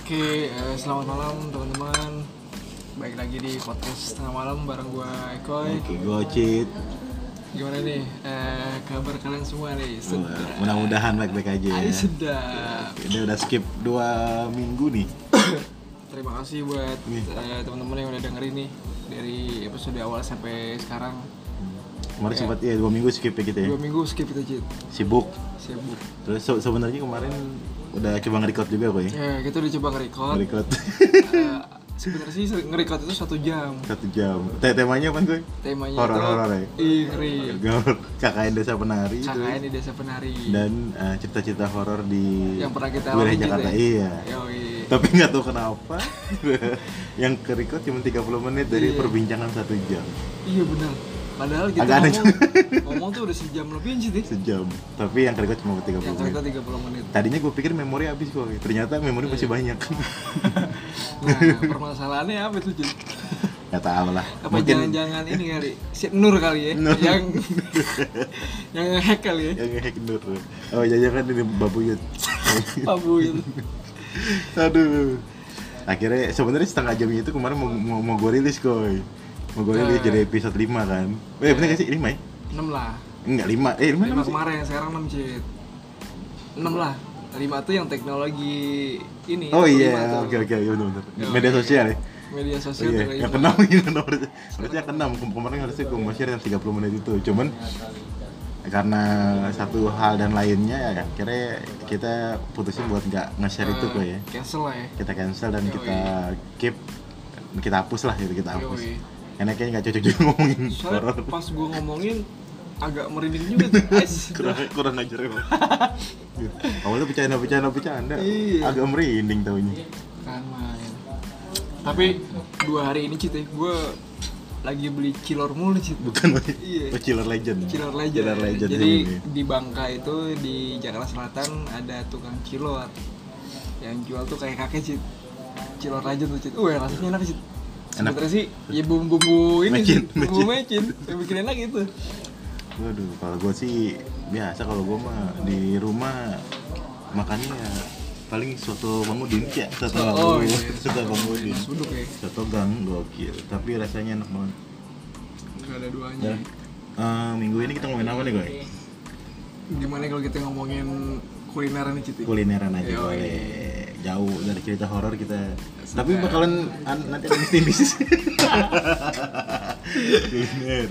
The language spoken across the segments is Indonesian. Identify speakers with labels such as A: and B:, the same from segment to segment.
A: Oke, eh, selamat malam teman-teman. Baik lagi di podcast tengah malam bareng gua Ekoy.
B: Oke, gocit.
A: Gimana nih eh, kabar kalian semua nih? Sedap.
B: Mudah-mudahan baik-baik aja
A: Ay,
B: ya.
A: sedap.
B: Oke, Dia udah skip dua minggu nih.
A: Terima kasih buat
B: Nih.
A: eh, teman-teman yang udah dengerin nih dari episode awal sampai sekarang.
B: Kemarin sempat ya dua minggu skip ya gitu ya.
A: Iya. Dua minggu skip kita Cid.
B: Sibuk.
A: Sibuk.
B: Terus se- sebenarnya kemarin udah coba nge-record juga kok ya.
A: Ya, kita udah coba nge-record.
B: Nge-record
A: Eh, Sebenarnya sih nge-record itu satu jam.
B: satu jam. Te- temanya apa tuh?
A: Temanya
B: Horor-horor ya?
A: itu Ih, ngeri.
B: Gaur KKN Desa Penari itu. ya.
A: KKN di Desa Penari.
B: dan eh, cerita-cerita horor di
A: yang pernah kita
B: wilayah
A: lakuin,
B: Jakarta.
A: Cid, ya?
B: Iya.
A: Yoi.
B: Tapi nggak tahu kenapa yang ke-record cuma 30 menit dari
A: Iya.
B: perbincangan satu jam.
A: Iya benar. Padahal kita
B: Agak aneh
A: ngomong, ngomong tuh udah sejam lebih sih deh.
B: Sejam. Tapi yang ke-record cuma
A: Yang
B: 30 menit.
A: ternyata 30 menit.
B: Tadinya gue pikir memori habis kok, ternyata memori
A: Iya.
B: masih banyak.
A: Nah, permasalahannya apa tuh, Jin?
B: Gak tau lah.
A: Apa
B: Mungkin
A: jangan-jangan ini kali? Si Nur kali ya?
B: Nur.
A: Yang yang hack kali ya?
B: yang ngehack Nur. Oh jangan kan ini babuyut.
A: Abu itu.
B: Aduh. Akhirnya sebenarnya setengah jamnya itu kemarin mau mau, mau gue rilis koi. Mau gue rilis
A: Nah.
B: jadi episode 5 kan. Eh bener gak sih 5 ya?
A: 6 lah.
B: Enggak 5. Eh 5
A: Lima
B: sih?
A: kemarin, sekarang 6, Jin. 6 lah. 5 tuh yang teknologi ini.
B: Oh
A: itu
B: iya,
A: lima tuh.
B: oke oke iya benar benar.
A: Ya,
B: Media
A: oke.
B: sosial ya.
A: Media
B: Oh,
A: sosial
B: iya,
A: tuh
B: yang
A: lima.
B: keenam yang keenam harusnya harusnya keenam Kem- kemarin harusnya gue mau share yang 30 menit itu cuman karena satu hal dan lainnya ya akhirnya kita putusin buat nggak nge-share itu
A: Eh,
B: kok ya
A: Cancel lah ya.
B: kita cancel dan
A: Yoi.
B: kita keep kita hapus lah gitu kita hapus
A: Yoi.
B: karena kayaknya nggak cocok juga ngomongin
A: Soalnya
B: horor
A: pas gue ngomongin agak merinding juga tuh. Ais,
B: kurang kurang ajar emang awalnya bercanda bercanda bercanda
A: Iya.
B: agak merinding taunya
A: kan main tapi dua hari ini cit ya gue lagi beli cilor mulu nih, cit
B: bukan
A: Iya.
B: oh, Chiller Legend
A: cilor legend,
B: Chiller Legend iya,
A: jadi
B: ini.
A: di Bangka itu di Jakarta Selatan ada tukang cilor yang jual tuh kayak kakek cit cilor legend tuh cit wah rasanya enak cit
B: Enak.
A: sebenernya sih ya bumbu-bumbu ini
B: Mecin,
A: sih bumbu mecin
B: mecin.
A: yang bikin enak gitu
B: Waduh, kalau gue sih biasa kalau gue mah di rumah makannya ya paling soto Bang Udin ya, soto Bang Udin,
A: iya.
B: soto Bang Udin.
A: suduk ya
B: Soto gang gokil, tapi rasanya enak banget.
A: nggak ada duanya
B: Dan eh, minggu ini kita ngomongin apa nih, Goy?
A: gimana kalau kita ngomongin kuliner nih cit
B: Kulineran aja
A: Yoi.
B: boleh. Jauh dari cerita horor kita.
A: Sudah.
B: Tapi bakalan an- nanti ada mistis. Kuliner.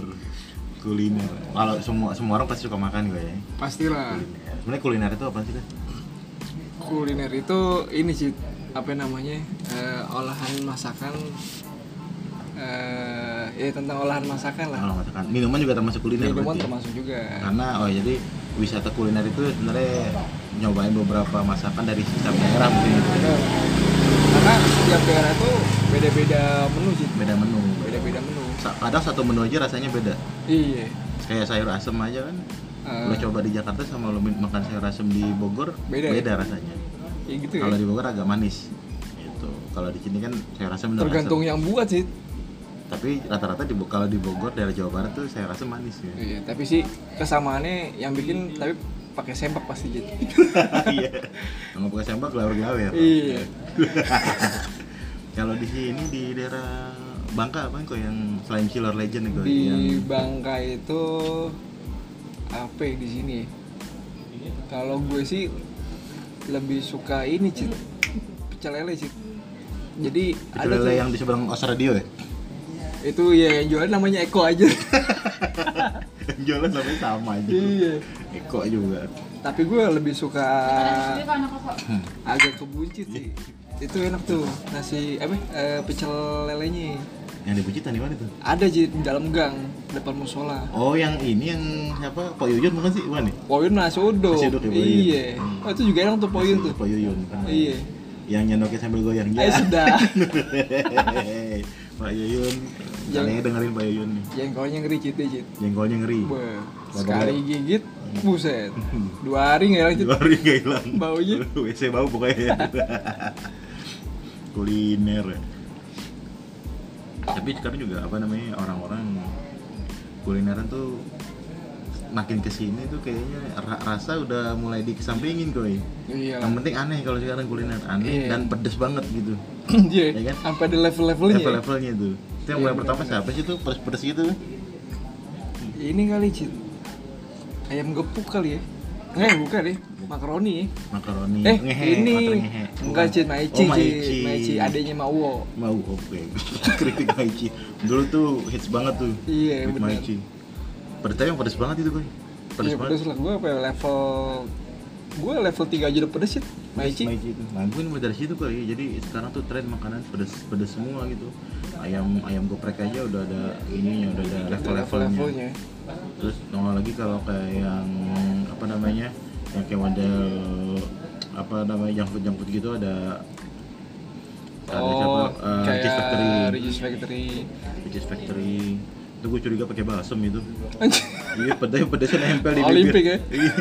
B: Kuliner. Kalau semua semua orang pasti suka makan, Goy. ya.
A: pastilah
B: Kuliner. Sebenarnya kuliner itu apa sih, Goy?
A: kuliner itu ini sih apa namanya eh, olahan masakan eh ya tentang olahan masakan lah
B: Kalau masakan minuman juga termasuk kuliner
A: minuman
B: Ah, berarti ya?
A: termasuk juga
B: Karena oh jadi wisata kuliner itu sebenarnya nyobain beberapa masakan dari setiap daerah mungkin gitu.
A: Bener. Nah, karena setiap daerah tuh beda-beda menu sih
B: Beda menu.
A: beda-beda menu
B: Sa- Kadang satu menu aja rasanya beda.
A: iya
B: Kayak sayur asem aja kan.
A: Eh.
B: Lo coba di Jakarta sama lo min- makan sayur asem di Bogor
A: Beda ya?
B: rasanya.
A: ya gitu ya
B: Kalau di Bogor agak manis. Gitu. Kalau di sini kan sayur asem bener
A: tergantung
B: asem.
A: yang buat sih
B: Tapi rata-rata di Bo- kalau di Bogor daerah Jawa Barat tuh sayur asem manis ya.
A: iya tapi sih kesamaannya yang bikin tapi pakai sempak pasti jadi
B: Iya. Kalau pakai sembak gawer-gawer.
A: iya
B: Kalau di sini di daerah Bangka apa kok yang selain Killer Legend kok yang
A: di Bangka itu apa ya di sini ya? kalau gue sih lebih suka ini cit pecel lele cit jadi ada
B: Killer
A: tuh-
B: yang di seberang Os Radio ya?
A: itu ya yang jualan namanya Eko aja
B: Yang Jualan sampai sama aja.
A: iya
B: Eko juga.
A: tapi gue lebih suka
B: Hmm.
A: agak kebuncit sih itu enak tuh nasi apa eh, pecel lelenya
B: Yang di Bucitan di mana tuh?
A: ada Cit, di dalam gang depan musola
B: Oh, yang ini yang siapa? Pak Yuyun bukan sih? Bukan ya? nih?
A: Poyun nasi uduk,
B: Nasi uduk ya, Poyun.
A: iya
B: Hmm.
A: oh, itu juga enak tuh Poyun tuh
B: Pak Yuyun. Ah,
A: Iya.
B: Yang nyendoknya sambil goyang
A: Eh sudah
B: Hehehe. Pak Yuyun.
A: Yang-
B: Kalian dengerin Pak Yuyun nih.
A: Jengkolnya ngeri cit ya, cit.
B: Jengkolnya ngeri.
A: Wah,
B: Waduh.
A: sekali gigit, buset. Dua hari nggak hilang cit.
B: baru nggak hilang
A: Baunya.
B: WC bau pokoknya kuliner ya. tapi sekarang juga apa namanya orang-orang kulineran tuh makin kesini tuh kayaknya ra- rasa udah mulai dikesampingin koi
A: iya
B: yang penting aneh kalau sekarang kuliner aneh
A: Iya.
B: dan pedes banget gitu
A: iya
B: Ya kan?
A: sampai ada level-levelnya ya.
B: level-levelnya tuh itu yang
A: Iya,
B: mulai pertama siapa sih tuh pedes-pedes gitu
A: ini kali cit ayam gepuk kali ya eh bukan ya makaroni ya
B: makaroni
A: eh
B: Ngehe,
A: ini
B: motor ngehe.
A: enggak
B: Bukan.
A: cit maici cit
B: oh, maici
A: maici adanya mauwo
B: mau oke kritik maici dulu tuh hits banget tuh
A: Iya,
B: kritik
A: benar.
B: maici pedes yang pedes banget itu koi pedes
A: iya
B: banget
A: pedes lah gue apa ya, level gue level 3 aja udah pedes cit maici
B: Maici itu. Nah, mungkin dari situ kali. ya. Jadi sekarang tuh tren makanan pedes pedes semua gitu. Ayam ayam geprek aja udah ada ininya, udah ada
A: Ada
B: level-levelnya.
A: level-levelnya
B: Terus nongol lagi kalau kayak yang apa namanya? Yang kayak model apa namanya? jangkut-jangkut gitu ada ada siapa?
A: oh
B: Eh, Cheese Factory.
A: kayak Regis Factory
B: Cheese Factory. Itu gue curiga pakai balsam itu.
A: Anjir.
B: Iya, pedes pedesnya nempel di bibir.
A: Olimpik ya?
B: Iya.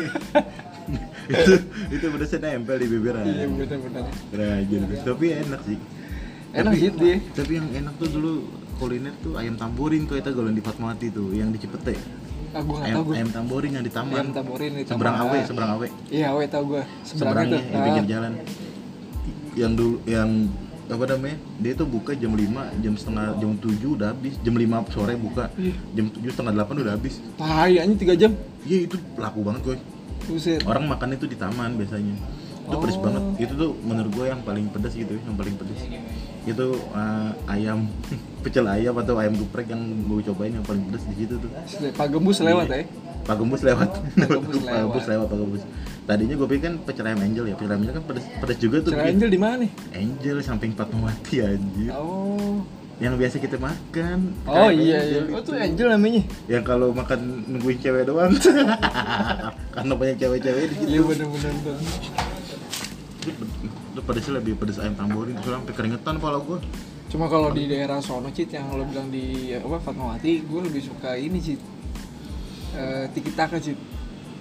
B: itu itu pedesnya nempel di bibir.
A: iya bener-bener
B: Nah, jadi- tapi enak sih.
A: enak
B: Tapi-
A: sih dia
B: Tapi yang enak tuh dulu kuliner tuh ayam tamborin tuh itu golongan di Fatmawati tuh yang di Cipete.
A: ah gue gak
B: Ayam,
A: tau gue
B: ayam tamborin yang di taman.
A: Ayam tamborin di
B: Seberang
A: taman.
B: awe, seberang awe.
A: iya we tau gue seberangnya
B: Seberangnya
A: tuh Ah.
B: di pinggir jalan. Yang dulu yang apa namanya? Dia tuh buka jam 5, jam setengah jam 7 udah habis. Jam 5 sore buka.
A: Iya.
B: Jam 7 setengah 8 udah habis.
A: pahaya anjing 3 jam
B: Iya, itu laku banget, coy.
A: buset
B: Orang makan itu di taman biasanya. Itu pedes
A: Oh.
B: banget. Itu tuh menurut gue yang paling pedes gitu, yang paling pedes. Itu eh, ayam pecel ayam atau ayam geprek yang gue cobain yang paling pedes di situ tuh.
A: Buset, Pak Gembus lewat
B: Iya.
A: ya
B: Pak Gembus lewat.
A: Oh. Pak Gembus
B: Pak Gembus lewat, Pak Gembus. Tadinya gue pikir kan pecel ayam angel ya, pecel ayam angel kan pedes, pedes juga tuh.
A: Cerah Angel di mana nih?
B: Angel samping Fatmawati anjir.
A: Oh,
B: Yang biasa kita makan.
A: oh
B: ayam
A: iya iya.
B: angel
A: Oh
B: itu.
A: tuh Angel namanya.
B: Yang kalau makan nungguin cewek doang. Karena banyak cewek-cewek di situ.
A: Iya bener-bener. bener.
B: Itu ped- itu pedesnya lebih pedes ayam tamborin terus sampai keringetan kepala gua
A: Cuma kalau di daerah sono cit yang lo bilang di apa Fatmawati, gue lebih suka ini cit. Eh tiki taka cit.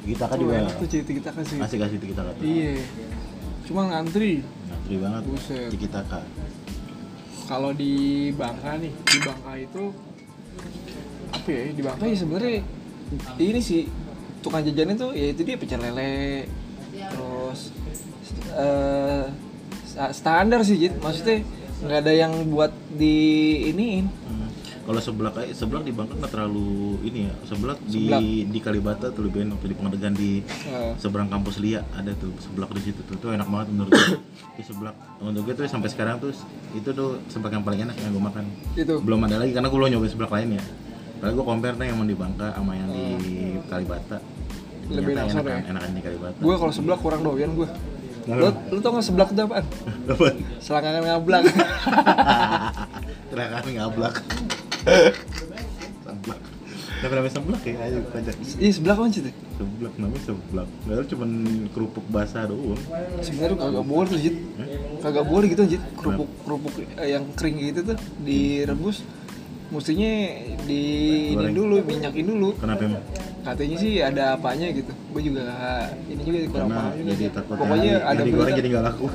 B: kita kan
A: Tuh,
B: juga
A: enak tuh cit tiki taka cit.
B: masih kasih kita kata
A: Iya. Cuma ngantri.
B: ngantri banget
A: Buset.
B: di kita kak
A: Kalau di Bangka nih, di Bangka itu apa ya? Di Bangka ya sebenarnya ini sih tukang jajan itu ya itu dia pecel lele terus eh, sta- standar sih Jit maksudnya nggak ada yang buat di iniin
B: Hmm. kalau sebelah kayak sebelah di Bangka nggak terlalu ini ya sebelah di
A: Seblak.
B: di Kalibata tuh lebih enak tuh di Pengadegan di
A: Eh,
B: seberang kampus Lia ada tuh sebelah di situ tuh, tuh enak banget menurut gue di sebelah untuk gue tuh sampai sekarang tuh itu tuh sebelah yang paling enak yang gue makan
A: itu
B: belum ada lagi karena gue belum nyobain sebelah lain ya Padahal gue compare nih yang di Bangka sama yang di Kalibata
A: Lebih
B: Ternyata
A: enak sana
B: enakan,
A: ya?
B: enakan di Kalibata
A: gue kalau seblak kurang doyan gue lu lu tau nggak seblak itu apaan
B: Apa?
A: selangkangan ngablak
B: Terangkan ngablak Seblak Kenapa namanya seblak ya? Ayo baca
A: iya seblak apa sih
B: Seblak, namanya seblak Padahal cuma kerupuk basah doang
A: sebenarnya kagak boleh tuh Jit kagak boleh gitu Jit kerupuk kerupuk eh, yang kering gitu tuh direbus mestinya di ini
B: Goreng.
A: dulu minyakin dulu
B: Kenapa emang?
A: katanya sih ada apanya gitu gue juga nggak- ini juga kurang
B: Karena
A: paham juga.
B: jadi takutnya
A: pokoknya
B: yang
A: ada
B: digoreng
A: berita
B: jadi nggak laku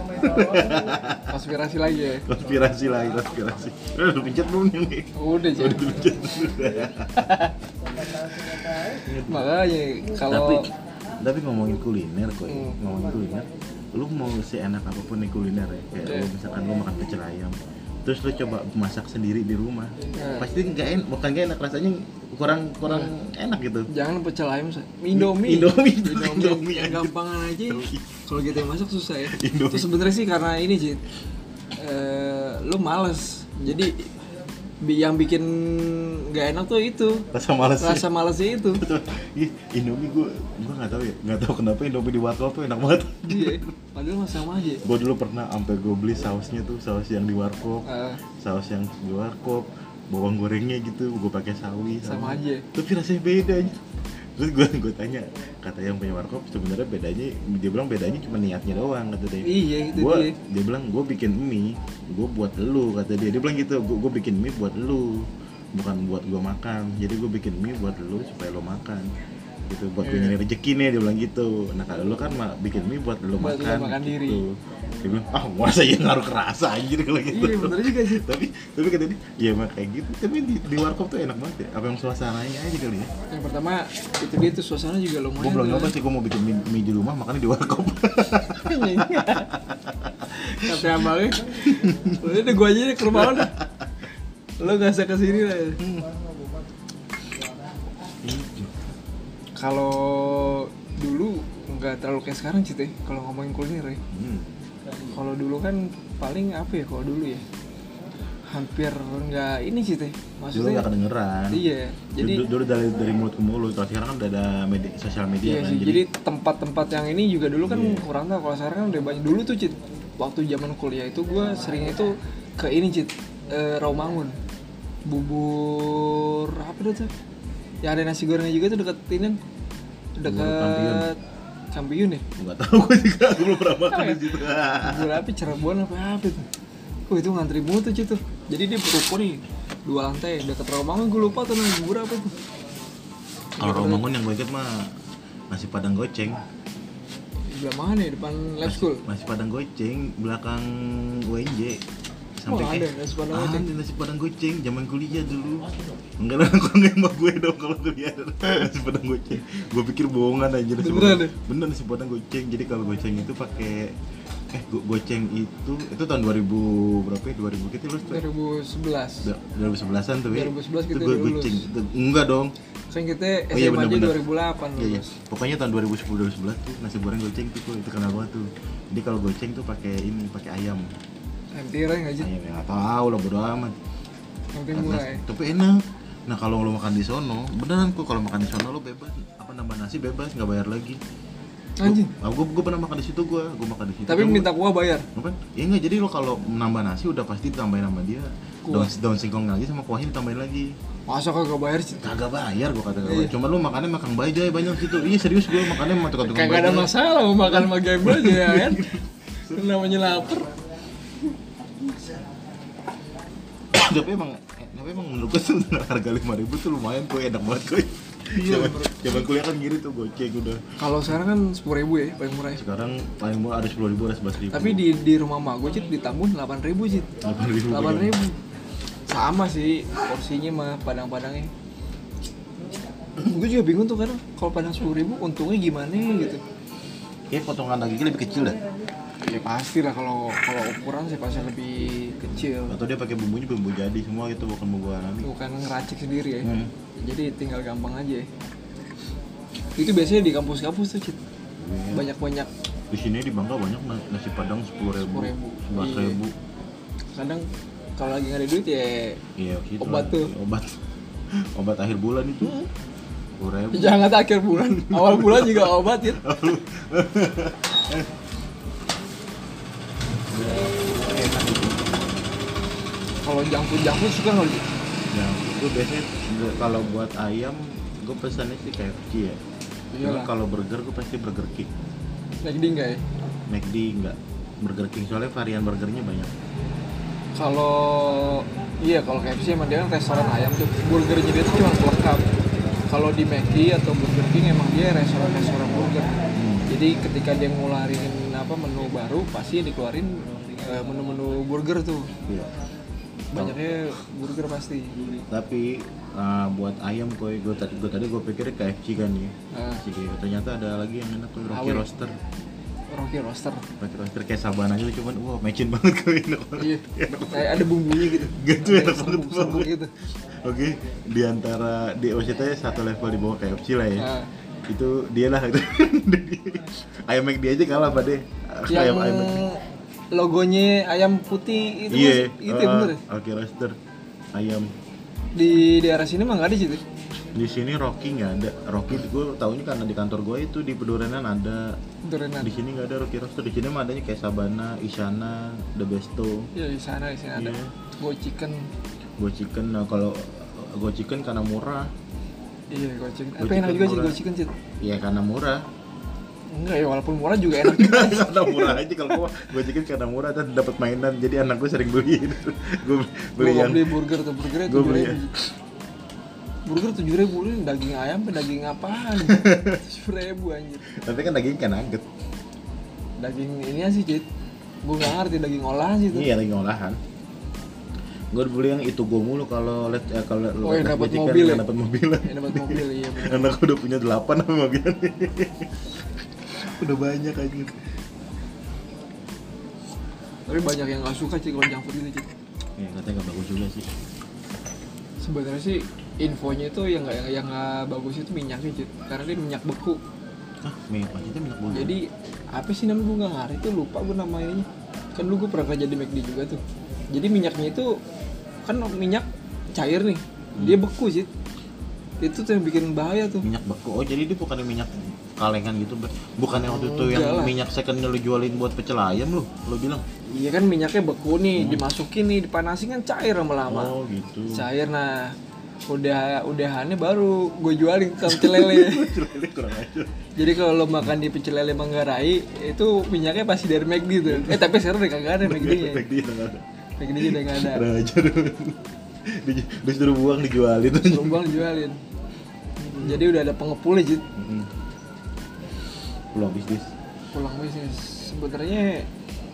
A: konspirasi lagi ya
B: Konspirasi lagi, konspirasi Eh, Udah pencet belum nih?
A: udah jadi
B: Udah pencet belum?
A: makanya
B: tapi
A: kalau
B: tapi ngomongin kuliner kok ya.
A: Hmm.
B: ngomongin kuliner lu mau seenak apapun nih kuliner ya kayak lu misalkan lu makan pecel ayam terus lu coba masak sendiri di rumah
A: Hmm.
B: pasti nggak enak bukan nggak enak rasanya kurang kurang
A: Iya.
B: enak gitu
A: jangan pecel ayam Sa. Indomie
B: Indomie. Indomie,
A: Indomie yang
B: anjir.
A: gampangan aja
B: Indomie.
A: kalau kita yang masak susah ya
B: Indomie.
A: itu sebenarnya sih karena ini sih lo males jadi bi- yang bikin nggak enak tuh itu
B: rasa malas
A: rasa malesnya itu
B: Ih, Indomie gua gua nggak tahu ya nggak tahu kenapa Indomie di warkop tuh enak banget
A: iya padahal mah sama aja
B: gua dulu pernah sampai gua beli sausnya tuh saus yang di warkop
A: Eh,
B: saus yang di warkop bawang gorengnya gitu gue pakai sawi
A: sama aja
B: tapi rasanya beda aja terus gue gue tanya kata yang punya warkop sebenarnya bedanya dia bilang bedanya cuma niatnya doang kata dia
A: iya itu
B: gue
A: dia
B: dia bilang gue bikin mie gue buat lu kata dia dia bilang gitu gue gue bikin mie buat lu bukan buat gue makan jadi gue bikin mie buat lu supaya lo makan gitu buat gue
A: Iya.
B: nyari rezeki nih dia bilang gitu nah kalau lu kan mah bikin mie buat lu
A: Buat lu
B: makan,
A: makan
B: gitu.
A: diri.
B: dia bilang ah masa ya ngaruh kerasa anjir kalau gitu
A: Iya, bener juga sih.
B: tapi tapi kata dia ya emang kayak gitu tapi di, di warkop tuh enak banget ya apa yang suasananya aja kali ya
A: yang pertama itu dia tuh suasana juga lumayan
B: gue belum
A: tuh.
B: nyoba sih gue mau bikin mie, mie di rumah makannya di warkop
A: Kata abangnya, udah gue aja deh ke rumah lo dah. Lo gak usah kesini lah. ya. Iya. Kalau dulu nggak terlalu kayak sekarang sih teh. Kalau ngomongin kuliner ya.
B: hmm.
A: Kalau dulu kan paling apa ya kalau dulu ya? Hampir nggak ini sih teh.
B: dulu
A: Maksudnya
B: nggak kedengeran
A: iya. Jadi
B: dulu, dulu dari dari mulut ke mulut kalau sekarang kan udah ada media sosial media
A: Iya
B: kan
A: sih, jadi tempat-tempat yang ini juga dulu kan
B: Iya.
A: kurang tahu kalau sekarang kan udah banyak. Dulu tuh Cit, waktu zaman kuliah itu gue seringnya itu ke ini Cit, eh, Rawamangun. Bubur apa dah tuh? Yang ada nasi gorengnya juga tuh deket ini deket Kampiun ya?
B: nggak tahu gue juga gue belum pernah makan
A: Iya.
B: di situ
A: Bubur apa Cirebon apa apa tuh? Kok itu ngantri mulu tuh Cit tuh. Jadi dia ruko nih dua lantai deket Rawamangun gue lupa tuh namanya bubur apa tuh.
B: kalau Romangun yang gue inget mah nasi padang goceng
A: Di belah mana ya depan lab school?
B: nasi padang goceng belakang UNJ
A: Oh, ada nasi padang
B: Ah,
A: goceng.
B: ada nasi padang goceng zaman kuliah dulu enggak lah kok nggak sama gue dong kalau kuliah ada nasi padang goceng gue pikir bohongan aja nasi
A: Beneran
B: padang
A: ya?
B: bener nasi padang goceng jadi kalau goceng itu pakai eh go- goceng itu itu tahun 2000 berapa ya 2000 kita lulus tuh ya?
A: 2011.
B: 2011an tuh ya
A: 2011
B: itu
A: kita udah
B: gue
A: lulus.
B: goceng itu enggak dong
A: Kan kita
B: Oh iya,
A: SMA aja 2008
B: bener-bener. Iya, iya.
A: lulus.
B: Pokoknya tahun 2010 2011 tuh nasi goreng goceng tuh Kuy. itu kenal banget tuh. Jadi kalau goceng tuh pakai ini, pakai ayam.
A: MTR aja ya, nggak sih?
B: Ayam yang tahu lah bodo amat.
A: Yang penting
B: Karena,
A: mulai.
B: tapi enak. Nah kalau lo makan di sono, beneran kok kalau makan di sono lo bebas. Apa nambah nasi bebas, nggak bayar lagi.
A: Anjing.
B: Nah, gue gue pernah makan di situ gue, gue makan di situ.
A: Tapi
B: Cuma-
A: minta kuah bayar.
B: apa? Ya enggak jadi lo kalau nambah nasi udah pasti ditambahin sama dia.
A: Kuah.
B: Daun, daun singkong lagi sama kuahnya ditambahin lagi.
A: Masa kagak bayar sih?
B: Kagak bayar gue kata
A: Iya.
B: gue. Cuma lo makannya makan bajai banyak situ. Iya serius gue makannya sama tukang-tukang bajai.
A: Kagak ada masalah mau makan sama game aja ya kan? Itu namanya lapar.
B: tapi emang eh, tapi emang menurut gue tuh harga lima ribu tuh lumayan kok enak banget kok
A: Iya,
B: zaman,
A: bro.
B: zaman kuliah kan gini tuh goceng udah
A: Kalau sekarang kan 10 ribu ya paling murah. ya.
B: sekarang paling murah ada sepuluh ribu ada sebelas ribu
A: Tapi di di rumah mak gue cit di Tambun 8 ribu cit.
B: delapan ribu
A: 8 ribu. Sama sih porsinya mah padang-padangnya. gue juga bingung tuh kadang kalau padang 10 ribu untungnya gimana gitu.
B: kayak potongan dagingnya lebih kecil dah
A: Ya pasti lah kalau kalau ukuran sih pasti lebih kecil.
B: atau dia pakai bumbunya bumbu jadi semua itu bukan bumbu alami
A: bukan ngeracik sendiri ya
B: Hmm.
A: jadi tinggal gampang aja ya. itu biasanya di kampus-kampus tuh Cit. banyak-banyak
B: di sini di Bangka banyak na- nasi padang sepuluh ribu
A: 10.000.
B: sebelas
A: Iya.
B: ribu
A: kadang kalau lagi nggak ada duit ya
B: iya gitu
A: Obat
B: lah.
A: tuh.
B: obat obat akhir bulan itu sepuluh ribu
A: jangan akhir bulan awal bulan juga obat ya kalau jangkut jangkut suka nggak Cit?
B: Nah, itu biasanya bu- kalau buat ayam gue pesannya sih KFC ya. Cuma
A: Iyalah.
B: kalau burger gue pasti Burger King.
A: naik di Iya nggak ya
B: McD enggak. Burger King soalnya varian burgernya banyak.
A: kalau iya kalau KFC emang dia kan restoran ayam tuh burgernya dia tuh cuma pelengkap kalau di McD atau Burger King emang dia restoran restoran burger jadi ketika dia ngeluarin apa menu baru pasti dikeluarin eh, menu-menu burger tuh
B: Iya.
A: banyaknya burger pasti
B: Tapi ah, buat ayam koi gue tadi gue tadi gue pikir KFC kan ya.
A: Ah.
B: KFC kayak- ternyata ada lagi yang enak tuh
A: Awe.
B: Rocky Roaster.
A: Rocky Roaster
B: Rocky Roaster kayak sabana gitu cuman wah matchin banget koi enak banget.
A: iya kayak ada bumbunya gitu
B: Gitu,
A: Ada
B: enak banget,
A: serbuk-serbuk
B: Bang.
A: gitu
B: Oke, di antara di OCT satu level di bawah KFC lah ya.
A: Ah.
B: Itu dia lah. ayam McD aja kalah pada
A: yang
B: ayam ayam McD.
A: logonya ayam putih itu
B: Iya,
A: Mas. itu ya, bener ya?
B: Oke, roster ayam.
A: di daerah sini mah nggak ada gitu
B: Di sini Rocky nggak ada. Rocky gue taunya karena di kantor gue itu di Pedurenan ada.
A: untuk Renan
B: Di sini nggak ada Rocky Roaster. Di sini mah adanya kayak Sabana, Isyana, The Besto,
A: Iya di sana di sana ada.
B: Iya.
A: Go chicken.
B: Go Chicken. Nah, kalau Go Chicken karena murah.
A: Iya go chicken.
B: Go
A: Tapi enak
B: chicken
A: juga sih
B: murah.
A: go chicken Cit.
B: Ya karena murah.
A: Enggak ya walaupun murah juga enak juga.
B: karena murah aja kalau gua Go Chicken karena murah dan dapat mainan. Jadi anak gue sering beliin. gue
A: Gua
B: beli
A: mau
B: yang
A: beli burger tuh burgernya
B: Gua
A: tujuh
B: beli ya.
A: ribu. Burger tujuh ribu ini daging ayam apa daging apaan? Tujuh ribu anjir.
B: tapi kan daging kan nugget.
A: Daging ini sih Cit. gue gak ngerti daging olahan sih itu
B: Iya lagi olahan. Gue beli yang itu gue mulu kalau lihat eh, kalau
A: Oh, yang
B: lihat
A: dapat
B: Magic Car,
A: mobil
B: yang
A: ya?
B: dapat mobil.
A: Yang dapat mobil, iya, benar.
B: Karena aku udah punya delapan sama mobil. udah banyak aja.
A: tapi banyak yang gak suka sih kalau junk food gitu Cik.
B: Ya katanya gak bagus juga sih.
A: sebenarnya sih infonya itu yang nggak yang nggak bagus itu minyaknya Cik. karena dia minyak beku
B: Ah, minyak pancitnya minyak bulu.
A: jadi apa sih namanya gue nggak ngerti lupa gue namanya kan dulu gue pernah kerja di McD juga tuh jadi minyaknya itu kan minyak cair nih
B: Hmm.
A: dia beku sih itu tuh yang bikin bahaya tuh
B: minyak beku. Oh jadi dia bukan yang minyak kalengan gitu, Ber. bukan yang waktu itu
A: Oh,
B: yang
A: iyalah.
B: minyak secondnya lu jualin buat pecel ayam lu, lu bilang.
A: iya kan minyaknya beku nih dimasukin nih dipanasin kan cair lama-lama
B: Hmm. Oh gitu.
A: cair nah udah udahannya baru gue jualin ke pecel lele
B: Pecel lele kurang aja.
A: jadi kalau lo makan di pecel lele Manggarai itu minyaknya pasti dari McD tuh eh tapi sekarang udah kagak ada McD nya
B: Efek dia nggak Iya. ada.
A: McD nya udah nggak ada
B: Kurang aja dulu. Di- Disuruh buang dijualin.
A: Lumbang jualin. Jadi udah ada pengepulnya Jit.
B: Mm-mm. Belum bisnis.
A: pulang bisnis. Sebenarnya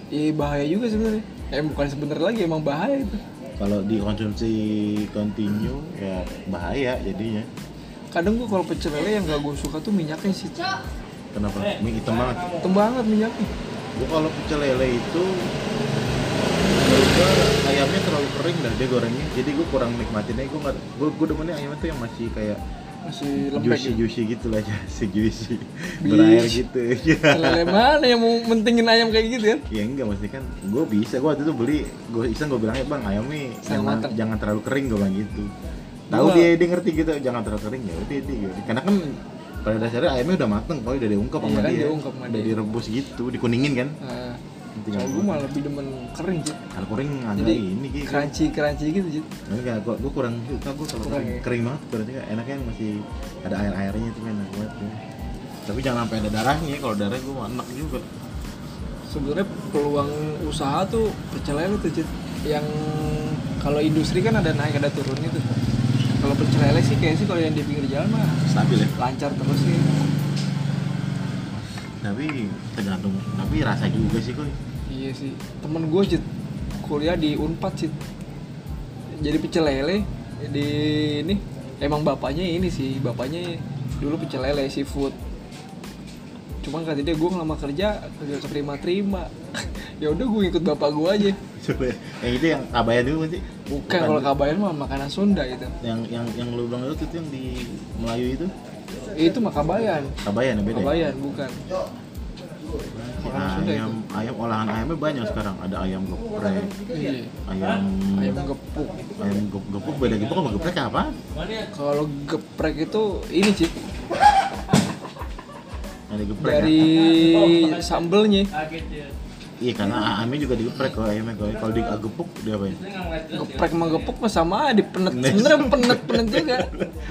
A: eh bahaya juga sebenarnya. Eh bukan sebenarnya lagi emang bahaya itu.
B: Kalau dikonsumsi continue ya bahaya jadinya.
A: Kadang gua kalau pecel lele yang gak gua suka tuh minyaknya sih.
B: Kenapa? Mie hitam banget.
A: Hitam banget minyaknya.
B: Gua kalau pecel lele itu menurut gua ayamnya terlalu kering dah dia gorengnya. Jadi gua kurang nikmatinnya. Gua nggak gua, gua demennya ayamnya tuh yang masih kayak
A: Masih lembek.
B: juicy juicy gitu lah ya, si juicy
A: Bis.
B: berair gitu. Iya.
A: Pecel lele mana yang mau mentingin ayam kayak gitu kan?
B: Ya enggak maksudnya kan gue bisa, gue waktu itu beli, gue iseng gue bilang, "Eh, bang ayam nih
A: Setengah
B: jangan,
A: matang."
B: jangan terlalu kering gue bilang gitu Tahu
A: Gua-
B: dia, dia ngerti gitu, jangan terlalu kering ya udah dia gitu. Karena kan pada dasarnya ayamnya udah mateng, kalau udah diungkep sama
A: Iya kan,
B: dia,
A: diungkep sama
B: udah
A: dia.
B: direbus gitu, dikuningin kan
A: Nah,
B: Tinggal
A: kalau gua malah lebih demen kering Jit.
B: Kalau kering agak
A: Jadi
B: ini gitu
A: crunchy-crunchy gitu Jit.
B: Enggak, gue, gue kurang suka, gue kalau
A: Kurang
B: kering,
A: ya?
B: kering banget Kurang juga, enaknya yang masih ada air-airnya itu enak banget ya. Tapi jangan sampai ada darahnya, kalau darahnya gue enak juga
A: Sebenarnya peluang usaha tuh pecel lele tuh Jit. Yang kalau industri kan ada naik ada turunnya tuh. Kalau pecel lele sih kayak sih kalau yang di pinggir jalan mah
B: Stabil ya
A: lancar terus sih
B: Tapi tergantung, tapi rasa juga sih kok
A: iya sih temen gue cit kuliah di unpad cit jadi pecel lele di ini emang bapaknya ini sih bapaknya dulu pecel lele seafood cuman kata dia gue ngelamar kerja kerja terima terima ya udah gue ikut bapak gue aja
B: Coba ya. yang itu yang kabaya dulu sih
A: bukan kalau kabayan mah makanan Sunda gitu. itu
B: yang yang yang lu bilang itu itu yang di Melayu itu
A: Eh, itu mah kabayan
B: kabaya nah beda ya? Nah,
A: kabayan bukan Makanan Sunda
B: ayam ayam olahan ayamnya banyak sekarang ada ayam geprek
A: iya
B: ayam
A: ayam gepuk
B: ayam gep- gepuk beda gepuk sama geprek apa
A: kalau geprek itu ini cit
B: ada geprek ya?
A: dari sambelnya
B: iya karena ayamnya juga digeprek kalau ayamnya kalau kalau digepuk dia apa ya
A: geprek sama gepuk mah sama aja penet sebenernya penet penet juga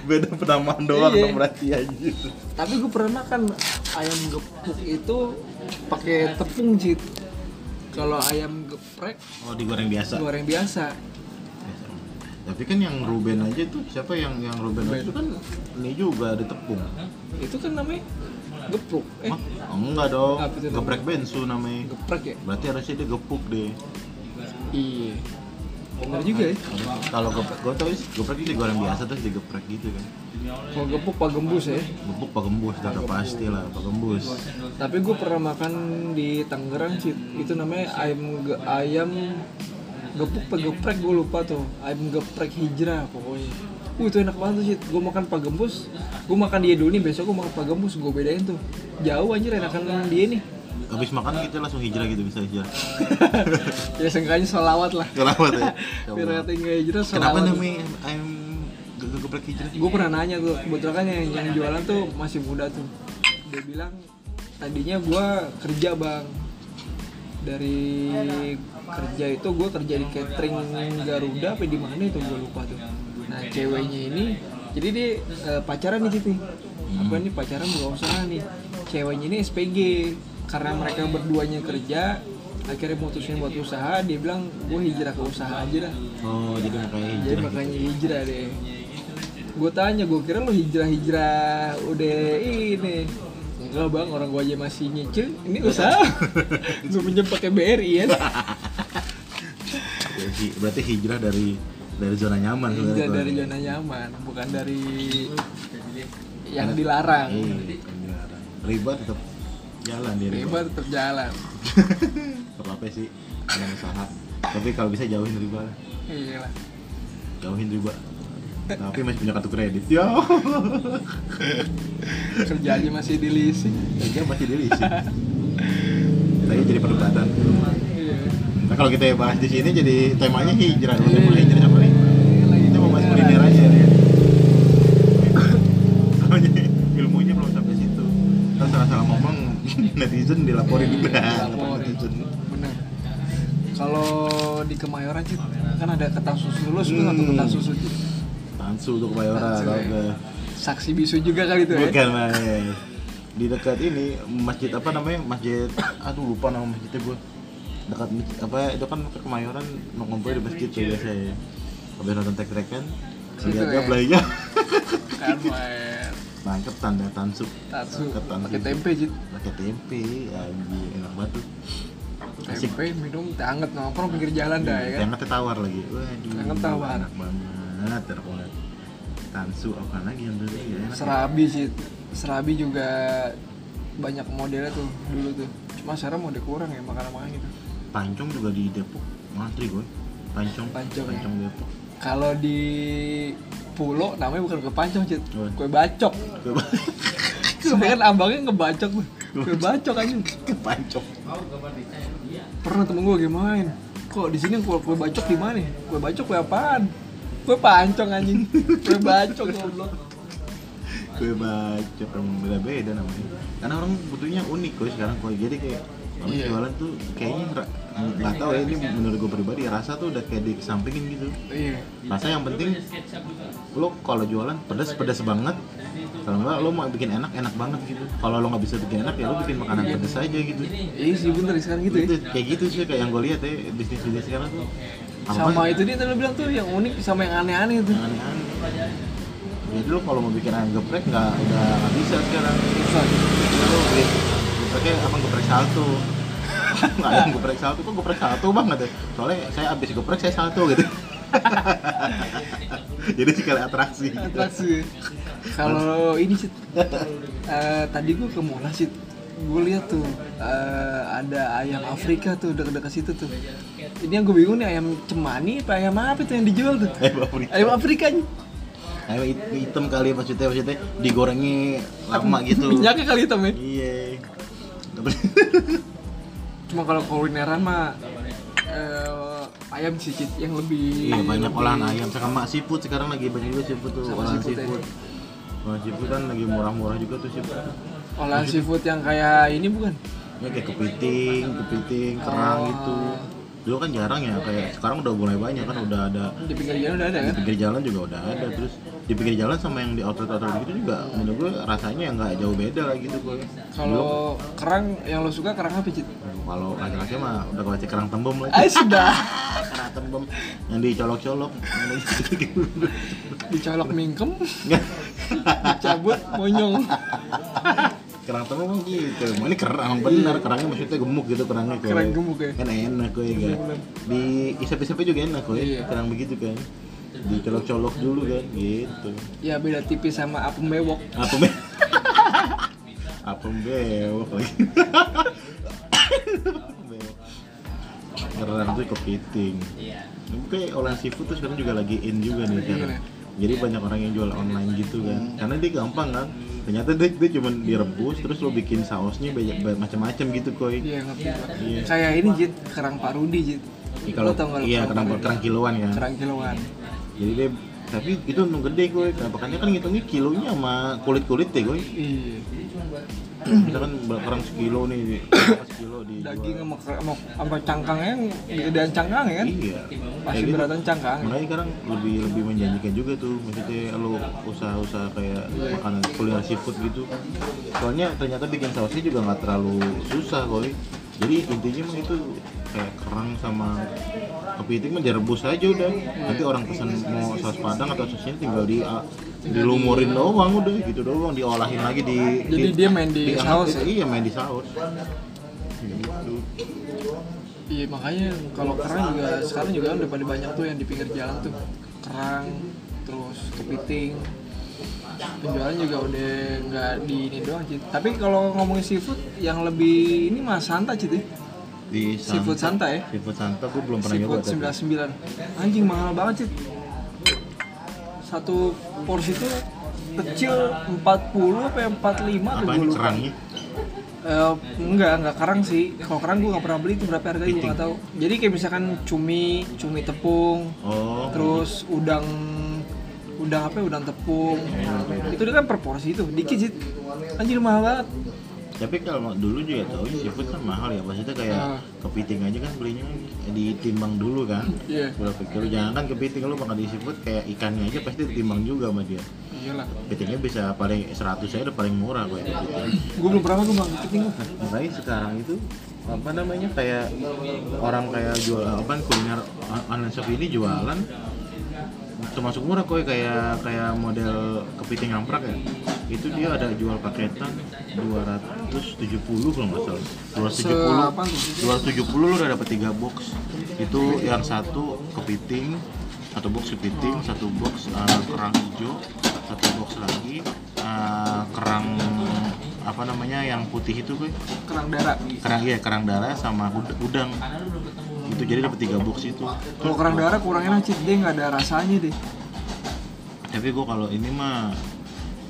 B: beda penamaan doang
A: Iya.
B: dong berarti anjir
A: tapi gue pernah makan ayam gepuk itu pakai tepung cit kalau ayam geprek
B: oh digoreng biasa
A: goreng biasa
B: tapi kan yang Ruben aja tuh siapa yang yang Ruben itu kan ini juga ada tepung
A: itu kan namanya gepuk eh
B: Hah? enggak dong
A: Apa itu namanya?
B: geprek bensu namanya
A: geprek ya
B: Berarti harusnya dia gepuk deh.
A: iya bener juga ya
B: Kalau gepuk, gue tau sih geprek itu goreng biasa terus digeprek gitu kan.
A: kalau gepuk pak gembus ya
B: Gepuk pak gembus, udah pasti lah pak gembus.
A: tapi gue pernah makan di Tangerang cit itu namanya ayam ge- ayam gepuk apa geprek gue lupa tuh ayam geprek hijrah pokoknya uh itu enak banget tuh cit gue makan pak gembus gue makan dia dulu nih besok gue makan pak gembus gue bedain tuh jauh anjir enakan dia nih
B: Habis makan kita langsung hijrah gitu bisa hijrah.
A: ya seenggaknya solawat lah
B: Kenapa tuh? ya?
A: biar kata nggak hijrah solawat
B: Kenapa namanya ayam ge- geprek hijrah?
A: gue pernah nanya tuh kebetulan kan yang, yang jualan tuh masih muda tuh dia bilang tadinya gue kerja bang dari kerja itu gue kerja di catering Garuda apa di mana itu gue lupa tuh nah ceweknya ini jadi dia eh, pacaran di situ apa nih pacaran nggak usah nih ceweknya ini SPG karena mereka berduanya kerja akhirnya mutusin buat usaha dia bilang gue hijrah ke usaha aja dah
B: Oh jadi makanya
A: jadi
B: hijrah. gitu.
A: makanya hijrah deh. Gue tanya, gue kira lu hijrah-hijrah udah ini Enggak bang, orang gua aja masih nyicil. Ini usaha. Gue pinjam pakai BRI ya.
B: Ya, hi- berarti hijrah dari dari zona nyaman
A: Hijrah
B: sebenarnya,
A: dari
B: Bang.
A: zona nyaman, bukan dari yang dilarang.
B: Iya, yang dilarang. riba tetap jalan di riba,
A: Riba tetap jalan.
B: Tetap apa sih ada usaha tapi kalau bisa jauhin riba
A: Iya lah.
B: jauhin riba tapi masih punya kartu kredit ya
A: Kerja aja masih dilisik.
B: dia masih diri sih Tapi jadi perdebatan
A: Iya.
B: nah kalau kita bahas di sini jadi temanya hijrah dulu mau hijrah sama riba kita mau bahas kuliner aja ya soalnya ilmunya belum sampai situ kita salah-salah ngomong netizen dilaporin
A: iya,
B: Nah,
A: Laporin.
B: netizen
A: Bener. Kalau di Kemayoran Cid, kan ada ketan susu lu suka satu
B: Hmm.
A: ketan susu Cid?
B: Tansu tuh Kemayoran,
A: Tansu,
B: tau
A: ya.
B: gak?
A: Saksi bisu juga kali itu ya.
B: Bukan main. Di dekat ini masjid apa namanya? Masjid aduh lupa nama masjidnya gua. Dekat masjid, apa itu kan ke Kemayoran ngumpul di masjid tuh biasanya. Habis nonton tek-tek kan.
A: Situ
B: Lihatnya
A: ya?
B: belayanya.
A: Kan main
B: Mantep tanda tansu.
A: tatsu
B: Ketan
A: pakai
B: susu.
A: tempe Cid.
B: Pakai tempe, anjir enak banget tuh. Asik.
A: Tempe minum teh hangat nongkrong pinggir jalan dah ya kan.
B: Yang teh tawar lagi. Waduh.
A: Enak tawar.
B: Enak banget, enak banget. Tansu apa lagi yang dulu ya? enak.
A: Serabi sih. Serabi juga banyak modelnya tuh dulu tuh. Cuma sekarang model kurang ya makanan-makanan gitu.
B: Pancong juga di Depok ngantri gue Pancong
A: Pancong, ya.
B: Pancong Depok
A: Kalau di pulau namanya bukan kue pancong, Cid.
B: Apa?
A: Kue bacok.
B: Coba
A: Sebenarnya ambangnya ngebacok tuh. Kue bacok aja.
B: ke Pancong
A: Pernah temen gue lagi main. Kok di sini kue, kue bacok di mana? ya? Kue bacok kue apaan? Kue pancong anjing. Kue bacok goblok.
B: Gue baca beda beda namanya Karena orang butuhnya unik kok sekarang kok Jadi kayak orang
A: Iya.
B: jualan tuh kayaknya ra- nggak tahu ya ini menurut gue pribadi rasa tuh udah kayak dikesampingin gitu
A: Iya.
B: rasa yang penting lo kalau jualan pedas pedas banget kalau enggak lo mau bikin enak enak banget gitu kalau lo nggak bisa bikin enak ya lo bikin makanan pedas aja gitu
A: Iya sih bener sekarang gitu ya.
B: Itu, kayak gitu sih kayak yang gue lihat ya bisnis bisnis sekarang tuh
A: Sama itu dia tadi lu bilang tuh yang unik sama yang aneh-aneh tuh.
B: aneh-aneh jadi lo kalau mau bikin ayam geprek nggak udah nggak bisa sekarang
A: Susah.
B: lo beli gepreknya apa geprek salto nggak ada yang geprek salto kok geprek salto banget ya soalnya saya abis geprek saya salto gitu jadi sekali atraksi gitu.
A: Atraksi. Kalau ini sih eh, tadi gue ke Monas sih gue lihat tuh eh, ada ayam Afrika tuh dekat-dekat situ tuh. Ini yang gue bingung nih ayam cemani apa ayam apa tuh yang dijual tuh?
B: ayam Afrika
A: Ayam Afrika nih.
B: ayam hit- hitam kali ya maksudnya maksudnya digorengnya lama gitu
A: Minyaknya kali hitam ya.
B: iya
A: Cuma kalau kulineran mah eh, ayam cicit yang lebih
B: Iya banyak olahan ayam sama seafood sekarang lagi banyak juga seafood tuh
A: Sama
B: olahan
A: seafood ya.
B: seafood. Olahan seafood kan lagi murah-murah juga tuh seafood.
A: olahan seafood yang kayak ini bukan?
B: Ya kayak kepiting, kepiting, kerang gitu. Dulu kan jarang ya kayak sekarang udah mulai banyak kan udah ada
A: Di pinggir jalan udah ada
B: di
A: kan?
B: pinggir jalan juga udah ada terus di pinggir jalan sama yang di outlet outlet gitu juga menurut gue rasanya ya nggak jauh beda lah gitu gue.
A: Kalau kerang yang lo suka kerang apa cit?
B: Kalau laki-laki mah udah kau kerang tembem lah.
A: Ah sudah.
B: Kerang tembem yang dicolok-colok.
A: dicolok mingkem dicabut monyong
B: kerang telur kan gitu Emang ini kerang emang bener kerangnya maksudnya gemuk gitu kerangnya kok
A: Kerang gemuk ya?
B: kan enak kok ya kan di isap-isapnya juga enak kok ya
A: Iya.
B: kerang begitu kan dicolok-colok dulu kan gitu
A: ya beda tipis sama apem bewok
B: apa me apa bewok lagi Bewok. kerang tuh kepiting Oke, olahan seafood tuh sekarang juga lagi in juga nih
A: Iya.
B: sekarang. Jadi banyak orang yang jual online gitu kan. Karena dia gampang kan. Ternyata dia, dia cuma direbus terus lo bikin sausnya banyak banyak- macam-macam gitu koi.
A: iya ngerti gua.
B: Iya.
A: kayak ini jit kerang parudi jit
B: Ini
A: lo tau gak lo
B: iya kerang
A: parudi?
B: kerang kiloan kan.
A: kerang kiloan
B: Jadi dia tapi itu untung gede gue. Kenapa kan dia kan ngitungnya kilonya sama kulit-kulit ya gue.
A: iya
B: Kita kan ber- kerang sekilo nih, berapa sekilo di
A: daging sama, ker- sama, sama cangkangnya yang gedean cangkang ya kan
B: Iya.
A: pasti
B: Kayak gitu.
A: beratan cangkang
B: Makanya sekarang lebih lebih menjanjikan juga tuh maksudnya lo usaha-usaha kayak makanan kuliner seafood gitu. Soalnya ternyata bikin sausnya juga nggak terlalu susah koi. Jadi intinya mah itu kayak kerang sama kepiting mah direbus aja udah. Nanti orang pesan mau saus padang atau sausnya tinggal di ah, dilumurin doang udah gitu doang diolahin lagi di
A: Jadi dia main di
B: diangkat,
A: saus ya?
B: iya main di saus gitu
A: Iya makanya kalau kerang juga sekarang juga udah pada banyak tuh yang di pinggir jalan tuh kerang terus kepiting penjualan juga udah nggak di ini doang Cid. Tapi kalau ngomongin seafood yang lebih ini mah Santa Cid ya.
B: di
A: Seafood Santa ya.
B: seafood santa gue belum pernah nyoba
A: Seafood
B: tapi
A: 99 Anjing mahal banget Cid Satu porsi tuh kecil 40 apa ya, 45 tuh
B: apa
A: gue
B: ini
A: lupa
B: kerangnya
A: Eh, enggak, enggak karang sih. Kalau karang gue nggak pernah beli itu berapa harganya gue nggak tahu. Jadi kayak misalkan cumi, cumi tepung,
B: oh
A: terus udang udang apa ya, udang tepung. Itu dia kan per porsi itu, dikit sih. Anjir mahal banget.
B: tapi kalau dulu juga tau seafood kan mahal ya maksudnya kayak
A: Ah.
B: kepiting aja kan belinya ditimbang dulu kan
A: Iya.
B: berapa kilo jangan kan kepiting lu makan di seafood kayak ikannya aja pasti ditimbang juga sama dia
A: Iyalah.
B: kepitingnya bisa paling 100 aja udah paling murah gue kepiting
A: Gue belum pernah gue bang kepiting gua.
B: Nah, makanya sekarang itu apa namanya kayak orang kayak jual apa kuliner on- online shop ini jualan termasuk murah kok kayak kayak model kepiting amprak ya itu dia ada jual paketan 270 kalau nggak salah
A: Se- apa tuh?
B: 270 270 lu udah dapat 3 box itu yang satu kepiting satu box kepiting satu box eh, kerang hijau satu box lagi eh, kerang apa namanya yang putih itu gue
A: Kerang darah.
B: kerang iya kerang darah sama ud- udang itu jadi dapat tiga box itu
A: Kalau kerang darah kurang enak sih, dia nggak ada rasanya deh.
B: tapi gua kalau ini mah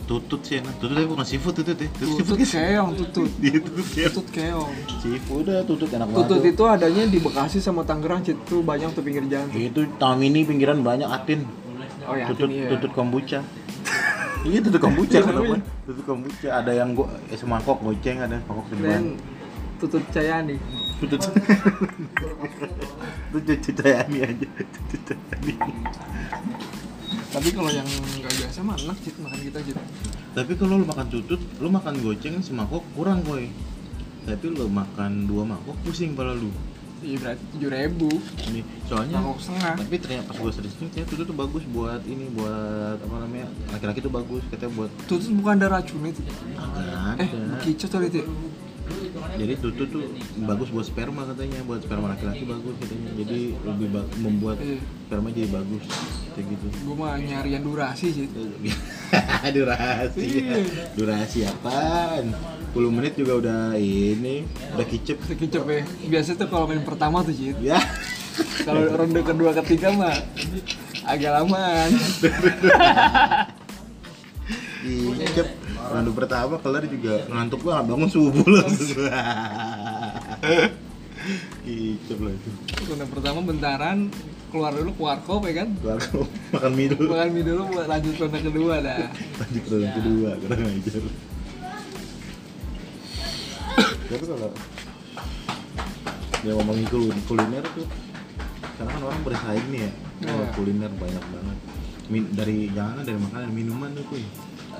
B: tutut sih enak tutut tapi bukan seafood tutut ya tutut seafood
A: Tutut
B: guys
A: keong, tutut.
B: dia tutut ya
A: Tutut keong.
B: seafood udah tutut enak
A: Tutut
B: banget
A: itu adanya di Bekasi sama Tangerang, Cid. Tuh banyak tuh pinggir jalan. tuh.
B: itu tahun ini pinggiran banyak atin
A: Oh ya,
B: tutut
A: ini ya.
B: tutut kombucha iya tutut kombucha
A: Iya,
B: kenapa
A: namanya.
B: tutut kombucha ada yang gua eh, semangkok goceng ada mangkok
A: Dan
B: seribuan
A: tutut Cayani.
B: tutut tutut cecayani aja tutut cecayani
A: Tapi kalau yang nggak biasa mah enak cit makan kita cit.
B: Tapi kalau lu makan tutut, lu makan goceng semangkok kurang koy. Tapi lu makan dua mangkok pusing pala lu.
A: Iya berarti tujuh ribu,
B: Ini soalnya
A: mangkok setengah.
B: tapi ternyata pas gua searching ternyata tutut tuh bagus buat ini buat apa namanya laki-laki tuh bagus katanya buat
A: Tutut bukan ada racunnya cit.
B: agak
A: Eh,
B: ada.
A: bekicot kali cit.
B: jadi tutut tuh bagus buat sperma katanya buat sperma laki-laki bagus katanya jadi lebih ba- membuat
A: Iya.
B: sperma jadi bagus kayak gitu
A: Gue mah nyari yang durasi cit.
B: durasi
A: Iya.
B: durasi apaan 10 menit juga udah ini udah kicep
A: Bekicot ya. Biasa tuh kalau main pertama tuh cit.
B: ya
A: Kalau ronde kedua ketiga mah agak lamaan.
B: Icep Ronde pertama kelar juga ngantuk banget bangun subuh langsung Icep lah itu
A: Ronde pertama bentaran keluar dulu ke warkop ya kan.
B: Kelar kau makan mie dulu
A: Makan mie dulu buat lanjut ronde kedua dah.
B: Lanjut ke ronde kedua kurang ajar Tapi kalau Ya ngomongin kul- kuliner tuh Karena kan orang bersaing nih ya Kalau
A: Iya.
B: kuliner banyak banget Min- dari jangan dari makanan minuman tuh kuy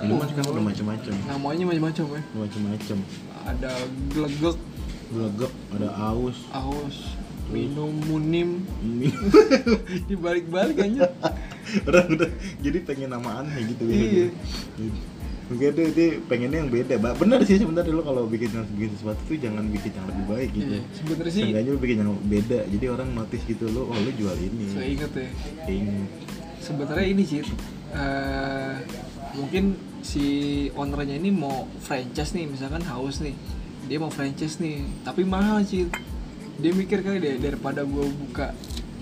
B: minuman sekarang udah macam-macam
A: Namanya macam-macam ya.
B: macam-macam
A: Ada glegek,
B: gelegek ada aus
A: aus, minum, munim,
B: ini
A: dibalik-balik aja.
B: orang udah jadi pengen nama aneh gitu
A: Iya.
B: mungkin dia, dia pengennya yang beda Ba- bener sih sebenarnya lo kalau bikin bikin sesuatu tuh jangan bikin yang lebih baik gitu
A: Iya, sebenarnya sih
B: Seenggaknya lo bikin yang beda jadi orang notice gitu lo oh lo jual
A: saya
B: ini
A: inget ya
B: ini
A: sebenarnya ini sih eh, mungkin si ownernya ini mau franchise nih misalkan haus nih dia mau franchise nih tapi mahal sih dia mikir kali deh daripada gue buka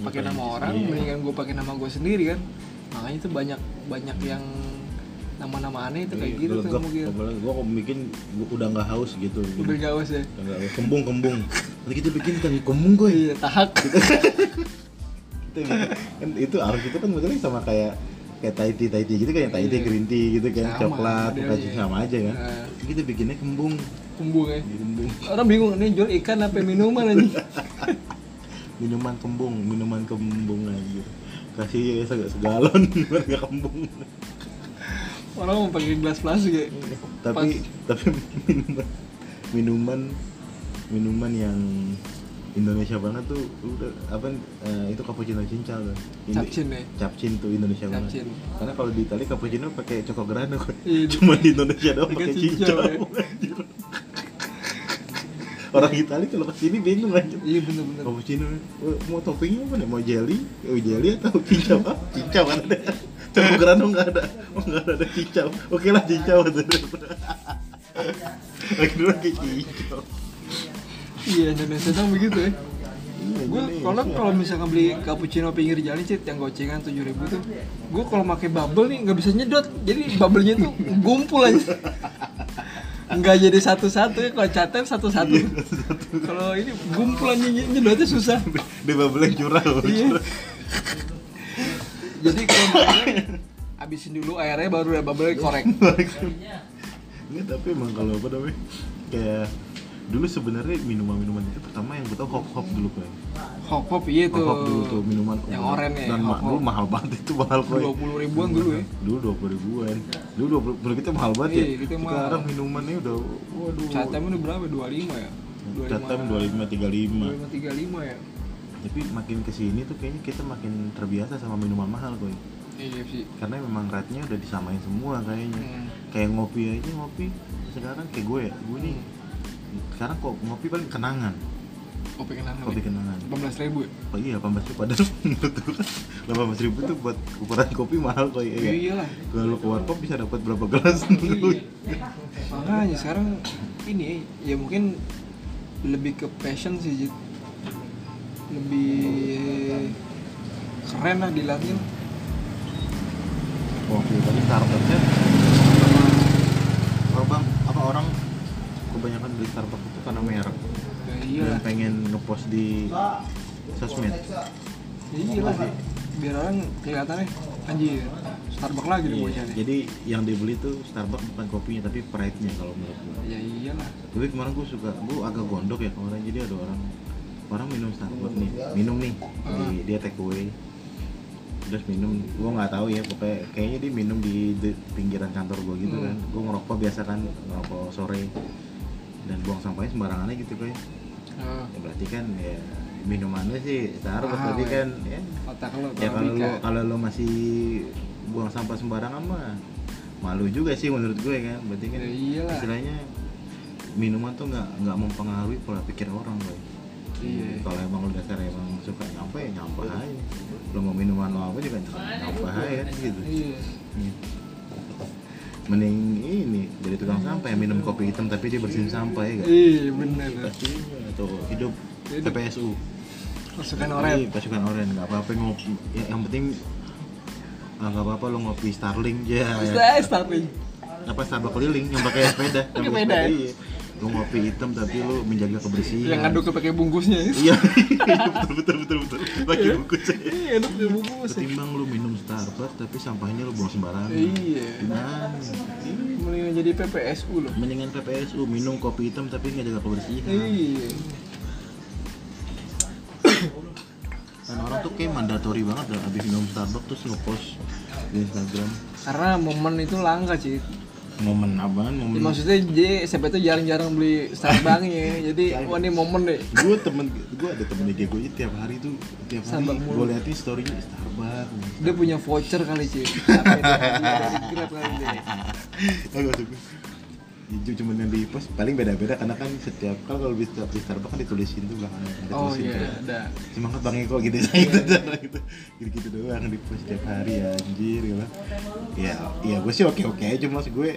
A: pakai nama orang
B: Iya.
A: mendingan gue pakai nama gue sendiri kan makanya itu banyak banyak yang nama-nama aneh itu kayak gitu tuh mungkin
B: gue kok bikin gua udah nggak haus gitu
A: mobil gawas ya
B: Udah nggak haus. kembung kembung nanti kita bikin kan kembung gue
A: iya tahak
B: Itu yang- kan itu harus itu kan modelnya sama kayak kayak tai tea tai tea gitu kan yang tai tea green tea gitu kan
A: Sama,
B: coklat
A: modelnya.
B: kasih sama aja kan
A: Nah.
B: kita bikinnya kembung
A: kumbung ya
B: kembung
A: orang bingung ini jual ikan apa minuman aja
B: minuman kembung minuman kembung aja kasih seg- segalon warga kembung
A: orang mau pakai gelas plastik ya
B: tapi tapi minuman minuman minuman yang Indonesia banget tuh udah apa eh, itu cappuccino cincal tuh. Ini-
A: Capcin ya?
B: Capcin tuh Indonesia
A: Capcin.
B: banget. Karena kalau di Italia cappuccino pakai cokograno.
A: Iya.
B: Cuma di Indonesia
A: Pakai
B: doang pakai
A: cincal,
B: cincal.
A: ya.
B: anjir. Orang Italia kalau kesini bingung aja.
A: Iya bener-bener.
B: Cappuccino eh, mau toppingnya apa nih? Mau jelly? Oh jelly atau cincau? Ah, cincau kan ada. Cokograno nggak ada. Oh nggak ada, ada cincau. Oke lah cincau. Akhirnya pakai cincau.
A: Iya Indonesia dong begitu ya.
B: Iya,
A: Gue
B: Indonesia.
A: kalau kalau misalkan beli cappuccino pinggir jalan cit yang gocengan tujuh ribu tuh, gue kalau pakai bubble nih nggak bisa nyedot, jadi bubblenya tuh gumpul aja. Nggak jadi satu-satu ya kalau catet satu-satu. Kalau ini gumpul aja ny- nyedotnya susah.
B: di babelnya curah
A: Iya. Jadi kalau misalnya abisin dulu airnya baru udah bubble korek.
B: Nggak, tapi emang kalau apa namanya kayak dulu sebenarnya minuman-minuman itu pertama yang gue tau hop hop dulu kan
A: Hop hop iya
B: hop
A: tuh.
B: hop dulu tuh minuman
A: Yang
B: obat.
A: oranye ya,
B: dan ma-
A: hop-hop.
B: dulu mahal banget itu mahal kok
A: Dua puluh ribuan dulu ya.
B: dulu dua puluh ribuan dulu dua puluh kita mahal banget ya
A: Iya, kita mahal.
B: sekarang minumannya udah waduh
A: Catem udah berapa? Dua lima ya.
B: catam dua lima tiga lima
A: lima tiga lima ya.
B: tapi makin kesini tuh kayaknya kita makin terbiasa sama minuman mahal kok
A: Iya sih.
B: karena memang rate-nya udah disamain semua kayaknya
A: Hmm.
B: kayak ngopi aja ngopi sekarang kayak gue ya gue nih
A: Hmm.
B: sekarang kok ngopi paling kenangan
A: Kopi kenangan.
B: kopi kenangan
A: Delapan belas ribu ya.
B: oh iya 18 ribu padahal menurut gue 18 ribu tuh buat ukuran kopi mahal kok ya
A: Iya
B: iya.
A: lah.
B: kalau lu keluar pop bisa dapat berapa gelas
A: Iya. Makanya sekarang ini ya mungkin lebih ke passion sih Jit. Lebih keren lah dilihatnya
B: kopi tadi iya, starbucksnya orang apa orang kebanyakan beli starbucks itu karena merek
A: Ya, iya
B: dan
A: lah.
B: pengen ngepost di sosmed
A: Ya, iya lah. Biar orang kelihatannya anjir Starbucks lagi nih
B: Iya,
A: bocahnya.
B: jadi yang dibeli tuh Starbucks bukan kopinya tapi pride-nya kalau menurut gue.
A: Ya iyalah.
B: Tapi kemarin gue suka, gue agak gondok ya kemarin jadi ada orang orang minum Starbucks nih, minum nih, di- dia take away terus minum, gue nggak tahu ya pokoknya kayaknya dia minum di, di pinggiran kantor gue gitu kan, gue ngerokok biasa kan ngerokok sore dan buang sampahnya sembarangan aja gitu kan,
A: Nah,
B: ya, berarti kan ya minumannya sih Starbucks
A: Mahal
B: tapi
A: ya.
B: kan ya,
A: otak lo
B: ya kalau lo
A: Arabica.
B: kalau lo masih buang sampah sembarangan mah malu juga sih menurut gue kan, berarti kan
A: Ya iyalah.
B: istilahnya minuman tuh nggak nggak mempengaruhi pola pikir orang boy
A: Iya.
B: kalau emang lu dasar emang suka nyampe ya nyampe aja lu mau minuman lo apa juga nyampe aja kan gitu
A: Iya.
B: Iya. mending ini dari tukang sampah yang minum kopi hitam tapi dia bersihin sampah ya gak
A: Iya bener.
B: pastinya atau hidup
A: Hidup.
B: PPSU
A: Masukkan orang.
B: Iya, pasukan oren nggak apa-apa ngopi ya, yang penting ah, nggak apa-apa lo ngopi Starling ya
A: Bisa starting.
B: apa Starbucks keliling yang pakai sepeda
A: Pakai
B: yang
A: sepeda, ya?
B: iya. lu ngopi hitam tapi lu menjaga
A: Yang
B: kebersihan
A: ngaduk pakai bungkusnya. ya.
B: iya betul betul betul betul pakai buku saya
A: Iya, ngaduk pakai bungkus. ya.
B: ketimbang lu minum Starbucks tapi sampahnya lu buang sembarangan
A: Iya.
B: gimana
A: Mendingan jadi PPSU loh.
B: mendingan PPSU minum kopi hitam tapi nggak jaga kebersihan
A: Iya.
B: dan orang tuh kayak mandatory banget dah abis minum Starbucks terus ngepost di Instagram
A: Karena momen itu langka sih.
B: Hmm. momen apaan
A: Ya,
B: momen
A: maksudnya dia SMP tuh jarang-jarang beli Starbucks ya. Jadi wah ini momen deh.
B: gue temen gue ada temen IG gue tiap hari tuh tiap hari
A: Starbucks mulu.
B: gue liatin storynya Starbucks
A: Dia punya voucher kali sih. Apa itu? Dari Grab kali dia.
B: Tahu gak maksud gue? Itu cuma yang di post paling beda-beda karena kan setiap kalau kalau di setiap di Starbucks kan ditulisin tuh belakangnya ada
A: Oh
B: tulisin
A: iya,
B: tuh.
A: ada. Iya,
B: Semangat Bang Eko gitu saya gitu cara gitu. Gitu gitu doang di post setiap hari ya anjir gitu. Ya, ya gue sih oke-oke aja cuma maksud gue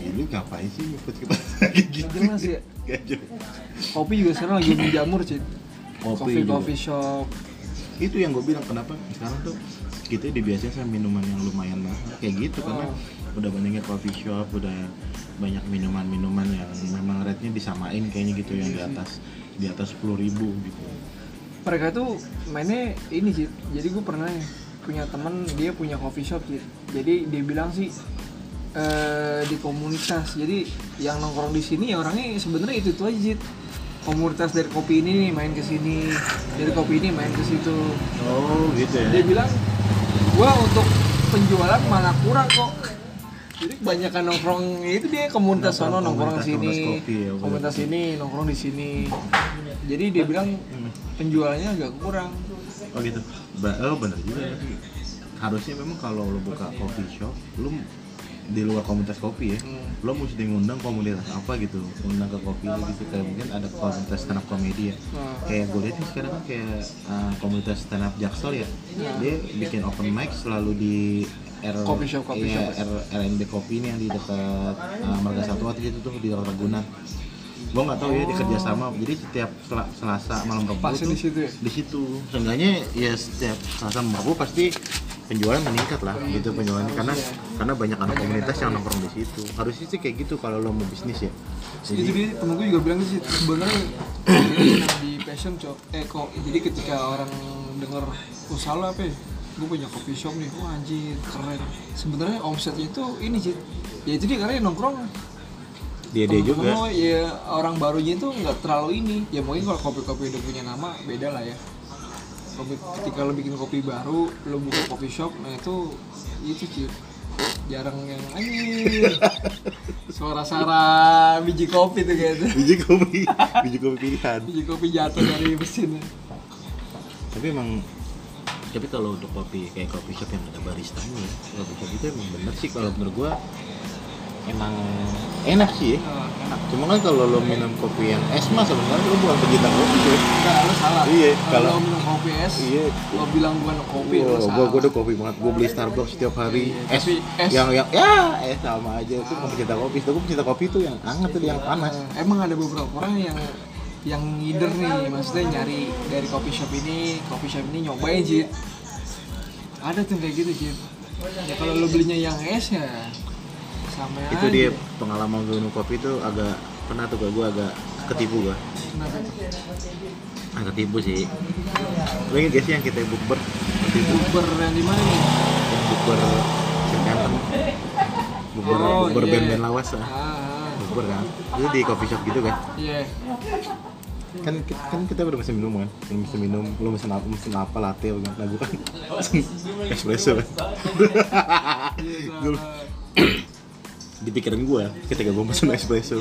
B: ya lu ngapain sih nge-post ke pasar gitu.
A: Jelas ya.
B: Gak jelas.
A: Kopi juga sekarang lagi menjamur sih.
B: Kopi
A: Kopi
B: juga.
A: coffee shop.
B: Itu yang gue bilang kenapa sekarang tuh kita dibiasain sama minuman yang lumayan mahal kayak gitu karena udah banyaknya coffee shop, udah banyak minuman-minuman yang memang rate-nya disamain kayaknya gitu yang di atas di atas 10.000 ribu gitu.
A: mereka tuh mainnya ini sih jadi gue pernah punya teman dia punya coffee shop sih jadi dia bilang sih eh, di komunitas jadi yang nongkrong di sini ya orangnya sebenarnya itu itu aja sih komunitas dari kopi ini nih main ke sini dari kopi ini main ke situ
B: Oh gitu
A: dia bilang gua untuk penjualan malah kurang kok Jadi kebanyakan nongkrong itu dia komunitas sono nongkrong
B: Komunitas-
A: sini,
B: komunitas kopi ya,
A: komunitas
B: kopi.
A: sini nongkrong di sini. Jadi dia bilang
B: Hmm.
A: penjualannya agak kurang.
B: Oh gitu. Ba- oh bener juga. Harusnya memang kalau lo buka coffee shop, lo di luar komunitas kopi ya,
A: Hmm.
B: lo mesti ngundang komunitas apa gitu, ngundang ke kopi gitu kayak mungkin ada komunitas stand up comedy ya.
A: Nah,
B: Kayak gue lihat nih sekarang kan kayak uh, komunitas stand up Jaksel ya, dia bikin open mic selalu di R
A: Iya. Coffee shop, coffee
B: iya,
A: shop.
B: R- R&B kopi ini yang di dekat uh, Marga Satwa tuh itu tuh di Ragunan. Gue nggak tahu ya di kerjasama. Jadi setiap Sel- Selasa malam Rabu
A: Pasti
B: tuh
A: di situ ya?
B: di situ seenggaknya ya setiap Selasa malam Rabu pasti penjualan meningkat lah gitu penjualannya karena
A: ya.
B: karena banyak anak komunitas yang nongkrong di situ harusnya sih kayak gitu kalau lo mau bisnis ya
A: itu
B: jadi
A: dia temen gue juga bilang sih sebenarnya passion di passion cok eh kok jadi ketika orang denger usaha lo apa ya gue punya coffee shop nih wah anjir keren sebenarnya omsetnya itu ini sih ya itu dia karena yang nongkrong
B: dia dia
A: temen-temen
B: juga
A: lo, ya orang barunya itu nggak terlalu ini ya mungkin kalau kopi-kopi udah punya nama beda lah ya Kopi- ketika lo bikin kopi baru lo buka coffee shop nah itu itu sih jarang yang anjir suara-suara biji kopi tuh gitu
B: biji kopi biji kopi pilihan
A: biji kopi jatuh dari mesin
B: tapi emang tapi kalau untuk kopi kayak kopi shop yang ada baristanya kopi shop itu emang bener sih kalau menurut gua emang enak sih ya.
A: Oh,
B: enak cuma kan kalau lo minum kopi yang es mah sebenarnya lo bukan pecinta kopi ya
A: Enggak, lo salah
B: Iya,
A: kalau
B: kalau-
A: lo minum kopi es
B: Iya.
A: lo bilang bukan kopi lo
B: Wow,
A: salah
B: gua gua udah kopi banget. Gua beli Starbucks setiap hari.
A: Iya,
B: es,
A: tapi es-
B: yang yang ya es sama aja. Itu mau pecinta kopi. Itu gua pecinta kopi tuh yang anget tuh yang panas.
A: Eh, emang ada beberapa orang yang yang ngider nih maksudnya nyari dari coffee shop ini coffee shop ini nyobain sih ada tuh kayak gitu sih ya kalau lo belinya yang es ya sama
B: Itu
A: aja.
B: dia pengalaman gua minum kopi tuh agak pernah tuh gua, gua agak ketipu gua.
A: Kenapa?
B: Agak ketipu sih. Lo inget gak sih yang kita bukber? Ketipu
A: Uber yang di mana nih?
B: yang bukber Cintempen. Bukber
A: Oh,
B: bukber
A: iya.
B: band-band lawas
A: Ah,
B: lah.
A: ah,
B: Bukber kan. Itu di coffee shop gitu kan.
A: iya.
B: kan ki- kan kita udah pesen minum kan yang pesen minum lu pesen apa pesen apa latte apa nah gue kan pesen espresso
A: Iya,
B: kan Dulu- di pikiran gue ketika gue pesen espresso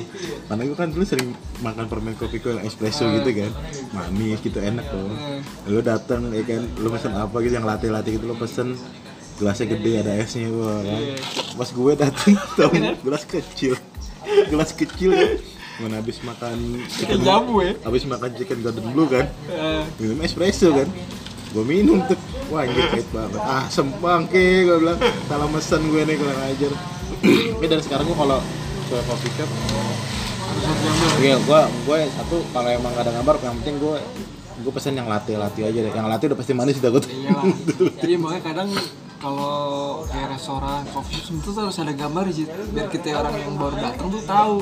B: karena gue kan dulu sering makan permen kopi yang espresso gitu kan manis gitu enak loh lu datang ya kan lu pesen apa gitu yang latte latte gitu lu pesen gelasnya gede ada esnya wah kan pas gue datang tau gelas kecil gelas kecil ya mana habis makan
A: Kayak jamu ya.
B: habis makan chicken golden blue kan
A: Eh,
B: minum espresso kan gue minum tuh wah anjir pahit banget ah sempang ke gue bilang salah mesen gue nih kurang ajar tapi dari sekarang gue kalau ke coffee shop
A: harus satu gambar.
B: iya gue gue satu kalau emang gak ada gambar yang penting gue gue pesen yang latte latte aja deh yang latte udah pasti manis udah gue tuh
A: Iya lah. Jadi makanya kadang kalau kayak restoran, coffee shop itu harus ada gambar sih biar kita orang yang baru datang tuh tahu.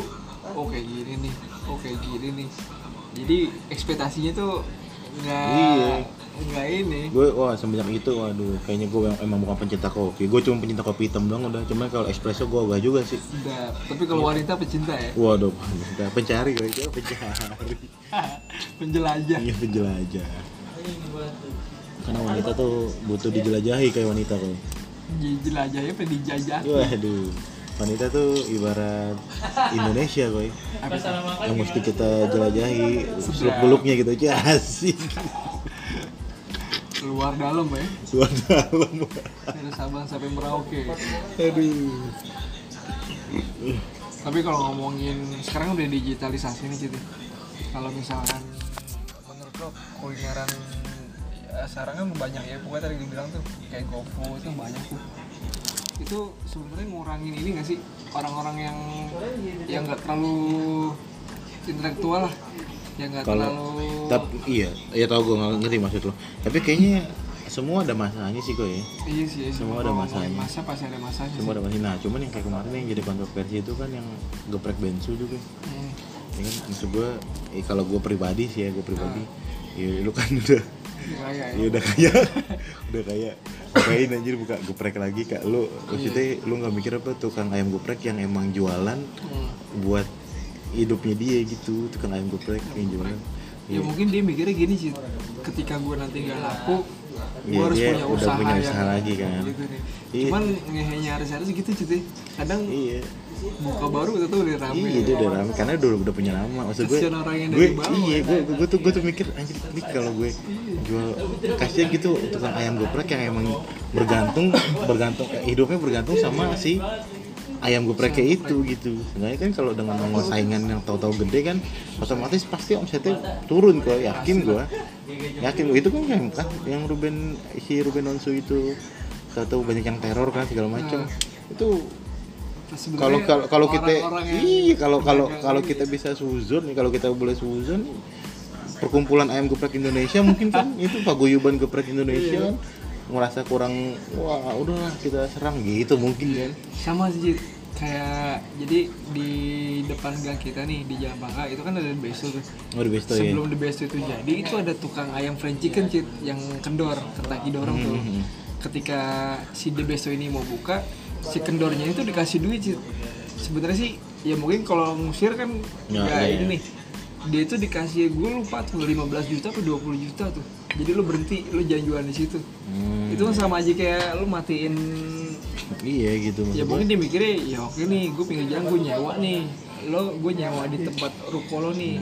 A: Oh kayak gini nih, oh kayak gini nih. Jadi ekspektasinya tuh nggak
B: Iya.
A: nggak ini.
B: gue wah semenjak itu waduh kayaknya gue emang, emang bukan pencinta kopi gue cuma pencinta kopi hitam doang udah cuman kalau espresso gue gak juga sih
A: Udah. Tapi kalau wanita pecinta ya,
B: waduh pencinta pencari gue itu pencari
A: penjelajah.
B: Iya penjelajah. Karena wanita tuh butuh dijelajahi kayak wanita kok.
A: Jelajahnya pengen dijajah.
B: Waduh. Wanita tuh ibarat Indonesia koi yang mesti kita jelajahi seluk beluknya gitu aja asik
A: Keluar dalam ya.
B: luar dalam
A: Dari Sabang sampai Merauke.
B: aduh
A: Tapi kalau ngomongin sekarang udah digitalisasi nih gitu. Kalau misalkan menurut lo kulineran ya, sekarang kan banyak ya, pokoknya tadi dibilang tuh kayak GoFood itu banyak tuh. Itu sebenarnya ngurangin ini gak sih orang-orang yang yang nggak terlalu intelektual lah, yang nggak terlalu
B: kalau tapi iya ya tau gue ngerti maksud lo tapi kayaknya semua ada masanya sih koi ya.
A: iya sih, iya sih.
B: semua ada
A: Kalau ngomongin
B: masanya.
A: Masa pasti ada masanya.
B: semua
A: sih.
B: ada masanya nah cuman yang kayak kemarin yang jadi kontroversi itu kan yang geprek bensu juga
A: Hmm.
B: ya kan maksud gue eh, kalau gue pribadi sih ya gue pribadi ya lu kan udah
A: Kayak
B: ya udah kayak udah kayak ngapain anjir buka geprek lagi kak lu maksudnya lu nggak mikir apa tukang ayam geprek yang emang jualan
A: Hmm.
B: buat hidupnya dia gitu tukang ayam geprek yang jualan
A: ya mungkin dia mikirnya gini sih ketika gue nanti nggak laku Gua harus
B: Iya, dia
A: punya
B: udah
A: usaha
B: punya
A: yang-
B: usaha lagi kan.
A: gitu nih.
B: Iya.
A: Cuman ngehenya harus-harus gitu cuy. Kadang
B: Iya.
A: buka baru tuh udah rame.
B: Iya dia udah lama karena udah udah punya nama maksud gue.
A: Kasihan orang yang dari
B: Gue
A: bawah, ya.
B: iya gue gue tuh gue tuh mikir anjir nih kalau gue jual kasihan gitu tukang ayam geprek yang emang bergantung bergantung eh, hidupnya bergantung sama si ayam gepreknya itu gitu. Sebenarnya kan kalau dengan nongol saingan yang tahu-tahu gede kan otomatis pasti omsetnya turun kok yakin gue yakin gue itu kan yang kan yang Ruben si Ruben Onsu itu tahu-tahu banyak yang teror kan segala macam itu
A: Nah, sebenarnya
B: kalau kalau kalau kita
A: orang-orang yang
B: iya kalau kalau
A: berdagang
B: kalau
A: ini ya.
B: kita bisa suzon nih kalau kita boleh suzon perkumpulan ayam geprek Indonesia mungkin kan itu paguyuban geprek
A: Iya.
B: Indonesia kan merasa kurang wah udahlah kita serang gitu mungkin
A: Iya.
B: kan
A: sama sih Jit. kayak jadi di depan gang kita nih di Jalan Bangka itu kan ada The Best tuh.
B: oh, the best tuh ya
A: Sebelum The Best itu jadi itu ada tukang ayam fried chicken Cit, yang kendor, Kentucky dorong tuh.
B: Mhm.
A: Ketika si The Best ini mau buka, si kendornya itu dikasih duit Cit. Sebenarnya sih ya mungkin kalau ngusir kan
B: Ya,
A: ya, ini
B: iya.
A: nih. Dia itu dikasih gue lupa tuh 15 juta atau 20 juta tuh. Jadi lu berhenti, lu jangan jualan di situ.
B: Hmm,
A: Itu kan sama aja kayak lu matiin
B: iya gitu
A: ya
B: maksud gue.
A: mungkin dia mikirnya ya oke nih gue pinggir jalan gue nyewa nih lo gue nyewa di tempat ruko lo nih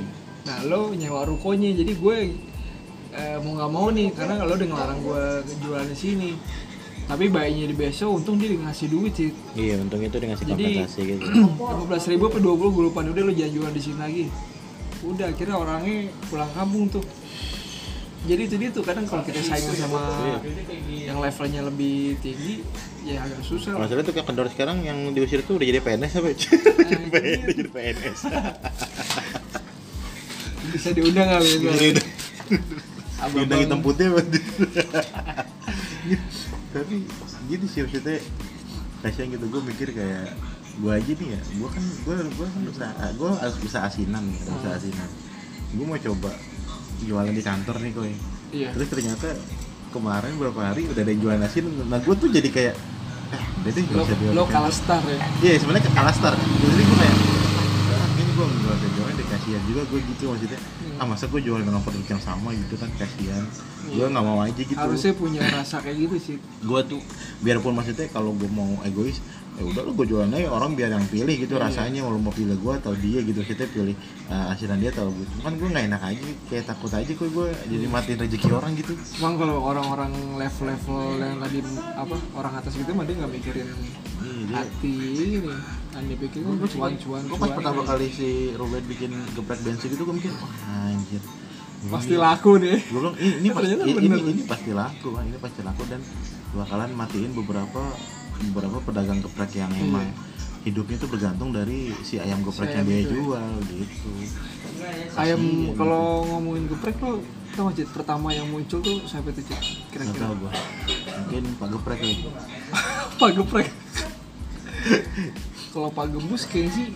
A: nah lo nyewa rukonya jadi gue eh, mau nggak mau nih karena lo udah ngelarang gue jualan di sini tapi bayinya di besok untung dia ngasih duit sih
B: iya untung itu dia ngasih
A: Jadi-
B: kompensasi gitu
A: lima belas ribu apa dua puluh gue lupa udah lo jangan jualan di sini lagi udah akhirnya orangnya pulang kampung tuh jadi itu dia tuh kadang kalau kita saingan sama yang levelnya lebih tinggi ya agak susah lah.
B: masalahnya tuh kayak kendor sekarang yang diusir tuh udah jadi PNS apa
A: Nah,
B: jadi
A: iya.
B: PNS jadi PNS
A: bisa diundang kali ya Abang-abang.
B: Bintang hitam putih apa Tapi gitu sih maksudnya Kasian gitu, gue mikir kayak Gue aja nih ya, gue kan, gue, gue kan usaha, gue harus usaha asinan nih, ada
A: Hmm.
B: usaha asinan Gue mau coba jualan di kantor nih koi
A: Iya.
B: Terus ternyata kemarin berapa hari udah ada yang jualan asin Nah gue tuh jadi kayak, ah udah deh
A: lo,
B: gak usah jualan
A: lo kalah star ya
B: Iya sebenarnya ke Kalastar. Jadi gue kayak "Ah, kayaknya gue nggak usah jualan deh kasihan juga gue gitu maksudnya
A: Iya.
B: ah masa gue jualan dengan produk yang sama gitu kan kasihan gue nggak mau aja gitu
A: Iya. harusnya punya rasa kayak gitu sih
B: gue tuh biarpun maksudnya kalau gue mau egois ya udah lu gue jualan aja orang biar yang pilih gitu
A: Iya.
B: rasanya mau lu mau pilih gue atau dia gitu kita pilih eh, asinan dia atau gue kan gue nggak enak aja kayak takut aja kok gue jadi
A: Iya.
B: matiin rezeki orang gitu
A: Cuman kalau orang-orang level-level yang tadi apa orang atas gitu mah dia nggak mikirin
B: Iya, jadi-
A: hati ini kan dia pikir kan Ah, cuan-cuan
B: Gue pas
A: cuan. iya.
B: pertama kali si Ruben bikin geprek bensin gitu gue mikir wah anjir
A: pasti laku deh
B: gue bilang "Ih, ini pasti
A: Eh, Ternyata
B: ini,
A: bener.
B: ini- ini pasti laku Bang. ini pasti laku dan bakalan matiin beberapa beberapa pedagang geprek yang emang hidupnya tuh bergantung dari si ayam
A: Iya.
B: geprek
A: Si ayam
B: yang dia
A: itu ya.
B: jual gitu Iya.
A: ayam kalau ngomongin geprek lo tau gak Cid? pertama yang muncul tuh siapa tuh Cid?
B: nggak
A: kira-kira
B: tahu gue mungkin pak geprek ya. nih
A: apa geprek kalau pak gembus kayaknya sih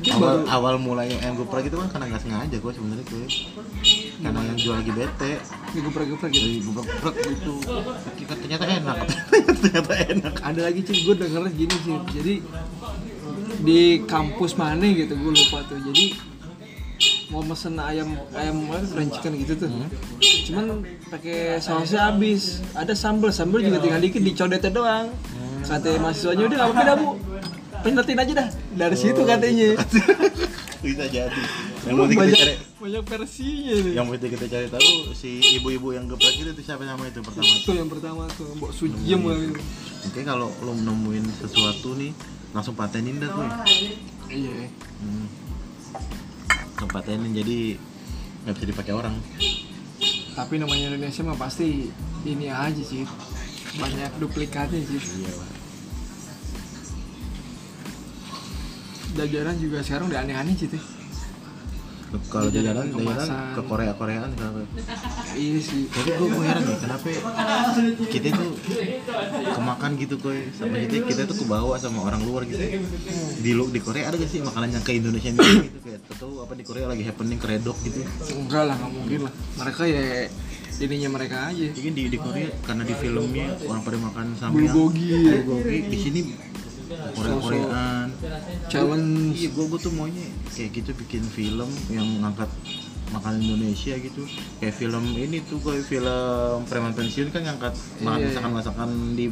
A: dia
B: awal
A: baru
B: awal mulai ayam geprek itu kan karena nggak sengaja gue sebenarnya gue karena yang jual lagi bete
A: geprek-geprek gitu
B: dari geprek itu ternyata enak ternyata enak
A: ada lagi sih gue denger gini sih jadi di kampus mana gitu gue lupa tuh jadi mau mesen ayam ayam apa, french chicken gitu tuh cuman pakai sausnya habis ada sambel sambel juga tinggal dikit dicodetnya doang kata mahasiswanya udah nggak apa-apa dah bu penyetin aja dah dari situ katanya
B: bisa jadi yang penting kita
A: banyak
B: cari
A: banyak versinya nih
B: yang penting kita cari tahu si ibu-ibu yang geprek itu tuh siapa nama itu pertama
A: itu yang pertama tuh mbok sujem gitu
B: Oke kalau lo nemuin sesuatu nih langsung patenin dah tuh.
A: iya
B: Hmm. Langsung patenin jadi nggak bisa dipakai orang.
A: tapi namanya Indonesia mah pasti ini aja sih banyak duplikatnya sih
B: Iya lah.
A: jajanan juga sekarang udah aneh-aneh sih Ya, tuh
B: Kalau
A: Jajanan
B: jalan jalan
A: kemasan.
B: ke Korea Koreaan kenapa?
A: iya sih
B: Tapi gue gue heran ya kenapa kita tuh kemakan gitu koi sama kita kita tuh kebawa sama orang luar gitu. Di lu- di Korea ada gak sih makanan yang ke Indonesia gitu kayak tahu apa di Korea lagi happening keredok gitu.
A: enggak lah nggak mungkin lah mereka ya ininya mereka aja
B: Mungkin di, di Korea karena di filmnya orang pada makan samyang.
A: bulgogi
B: Bulgogi di sini Korea Koreaan.
A: challenge
B: Iya, gue gue tuh maunya kayak gitu bikin film yang ngangkat makanan Indonesia gitu kayak film ini tuh kayak film preman pensiun kan ngangkat
A: Iya,
B: ma-
A: iya.
B: masakan-masakan di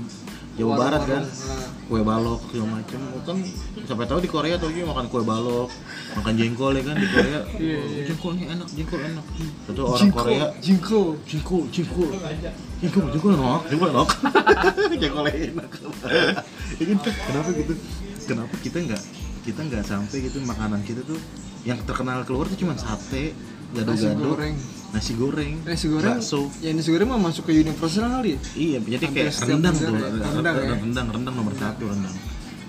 B: Jawa
A: Warung-warung,
B: Barat kan
A: nah.
B: kue balok segala macam kan sampai tahu di Korea tuh juga makan kue balok makan jengkol ya kan di Korea
A: Iya, iya.
B: jengkolnya enak jengkol enak itu orang Korea
A: jingko
B: jengkol jengkol jengkol jengkol enak jengkol enak jengkol enak Ya kan? kenapa gitu kenapa kita nggak kita nggak sampai gitu makanan kita tuh yang terkenal keluar tuh cuma sate
A: nasi
B: gado-gado
A: goreng
B: nasi goreng
A: nasi Eh, goreng
B: bakso
A: ya nasi goreng mah masuk ke universal kali ya
B: Iya, jadi
A: Hampir
B: kayak
A: setiap
B: rendang tuh.
A: negara ya, rendang
B: Rendang,
A: ya.
B: rendang, rendang nomor satu rendang.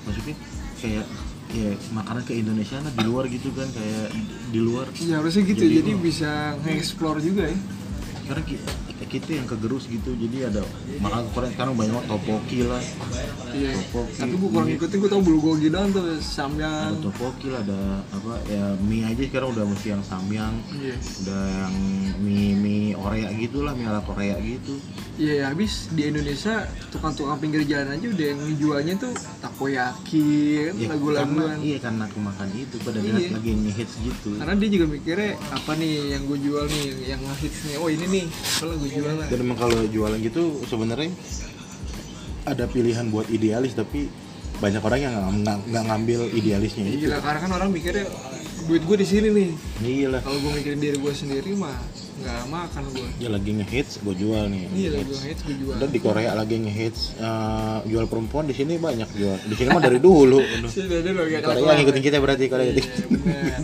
B: Maksudnya kayak ya makanan ke Indonesia lah di luar gitu kan kayak di luar.
A: ya harusnya gitu
B: Jadi,
A: jadi, bisa nge-explore juga ya
B: Karena ki- kita, yang kegerus gitu, jadi ada makanan Korea sekarang banyak banget, topoki lah,
A: iya
B: Topoki.
A: tapi gue kurang ngikutin gue tau bulgogi doang tuh samyang
B: ada topoki lah, ada apa ya mie aja sekarang udah mesti yang samyang,
A: iya
B: udah yang mie mie Korea gitulah, mie ala Korea gitu.
A: Iya habis di Indonesia tukang-tukang pinggir jalan aja udah yang jualnya tuh takoyaki,
B: Ya,
A: lagu-laguan.
B: karena- Iya karena aku makan itu pada
A: Iya.
B: saat lagi ngehits gitu.
A: Karena dia juga mikirnya apa nih yang gue jual nih, yang hits nih. Oh ini nih, kalau gue jual lah.
B: Dan emang kalau jualan gitu sebenarnya ada pilihan buat idealis tapi banyak orang yang nggak- nggak nggak ngambil idealisnya
A: Ya,
B: itu.
A: Gila karena kan orang mikirnya duit gue di sini nih.
B: Iya lah.
A: Kalau gue mikirin diri gue sendiri mah nggak makan gue.
B: Ya lagi ngehits gue jual nih.
A: Iya lah
B: Hits.
A: gue hits gue jual.
B: Dan di Korea lagi ngehits eh, jual perempuan di sini banyak jual. Di sini mah dari dulu. Aduh.
A: Sih dari lo kayak
B: Korea ngikutin kita berarti Korea.
A: Iya, bener.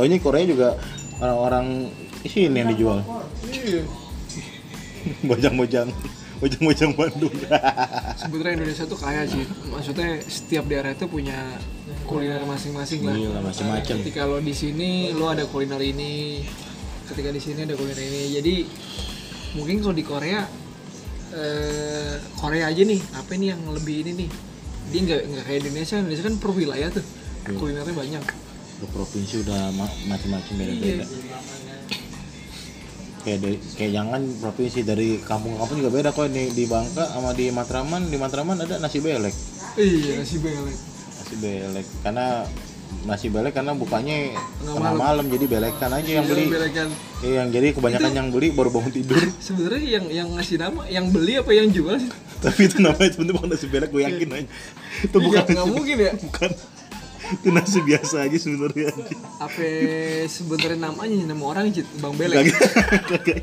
B: Oh ini Korea juga orang-orang sini yang dijual.
A: Iya.
B: Bojang-bojang. Bojang-bojang Bandung.
A: Sebetulnya Indonesia tuh kaya sih. Maksudnya setiap daerah itu punya kuliner masing-masing lah.
B: Iya lah macam-macam.
A: ketika lo di sini lo ada kuliner ini ketika di sini ada kuliner ini jadi mungkin kalau di Korea eh, Korea aja nih apa nih yang lebih ini nih dia nggak nggak kayak Indonesia Indonesia kan per wilayah tuh
B: Iya.
A: kulinernya banyak
B: Ke provinsi udah ma- macam-macam
A: Iya,
B: beda-beda. kayak dari, kayak jangan provinsi dari kampung ke kampung juga beda kok di di Bangka sama di Matraman di Matraman ada nasi belek
A: iya nasi belek
B: nasi belek karena nasi belek karena bukanya
A: Tengah
B: tengah
A: malam.
B: malam jadi belekan aja yang beli
A: belekan
B: Iya, yang jadi kebanyakan yang beli baru bangun tidur
A: sebenarnya yang yang ngasih nama yang beli apa yang jual sih
B: tapi itu namanya sebenarnya bukan nasi belek gue yakin aja itu
A: Iya,
B: bukan
A: nggak mungkin ya
B: bukan itu nasi biasa aja sebenarnya aja.
A: apa sebenarnya namanya nama orang Cit? bang belek
B: Kagak.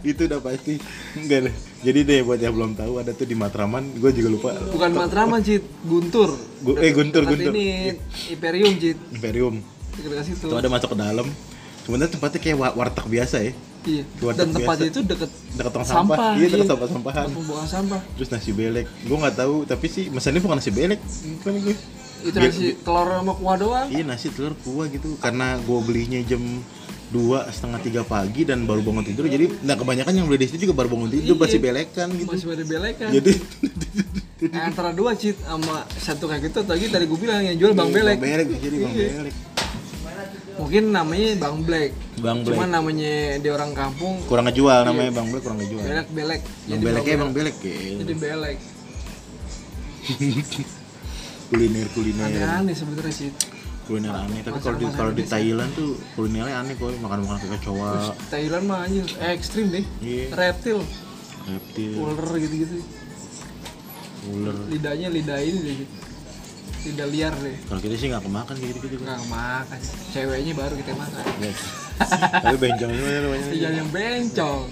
B: itu udah pasti enggak deh. jadi deh buat yang belum tahu ada tuh di Matraman gue juga lupa
A: bukan Matraman Cit Guntur
B: Gu- eh, Guntur,
A: Tempat
B: Guntur.
A: ini Imperium Cit
B: Imperium
A: dekat situ
B: itu ada masuk ke dalam sebenarnya tempatnya kayak wa- warteg biasa ya
A: iya
B: keluarga
A: dan tempat
B: biasa.
A: itu deket
B: dekat tong
A: Sampah,
B: sampah, iya dekat
A: iya.
B: sampah sampahan
A: pembuangan sampah
B: terus nasi belek gue nggak tahu tapi sih mesennya bukan nasi belek Bukan gue
A: itu
B: Biar-
A: nasi telur sama kuah doang
B: iya nasi telur kuah gitu karena gue belinya jam dua setengah tiga pagi dan baru bangun tidur jadi nah kebanyakan yang beli di situ juga baru bangun tidur
A: Iya.
B: pasti belekan gitu
A: masih pada belekan
B: jadi
A: Nah, kan. antara dua cit sama satu kayak gitu tadi tadi gue bilang yang jual bang belek
B: Iya, bang belek jadi bang
A: Iya.
B: belek
A: mungkin namanya bang black
B: bang belek
A: cuman namanya di orang kampung
B: kurang ngejual namanya
A: Iya.
B: bang belek kurang ngejual
A: belek belek
B: bang beleknya
A: Iya.
B: bang belek ya
A: jadi belek
B: kuliner kuliner
A: aneh aneh sebenarnya sih
B: kuliner aneh tapi
A: Masakan-
B: kalau di
A: masakan
B: kalau di
A: Indonesia.
B: Thailand tuh kulinernya aneh kok makan makan kayak kecoa
A: Thailand mah anjir eh, ekstrim deh
B: iya
A: reptil
B: reptil
A: ular gitu gitu
B: ular
A: lidahnya lidah ini deh Cit. lidah liar deh
B: kalau kita sih nggak kemakan kayak gitu gitu
A: nggak makan ceweknya baru kita makan
B: tapi ya bencong itu banyak
A: Tinggal yang bencong.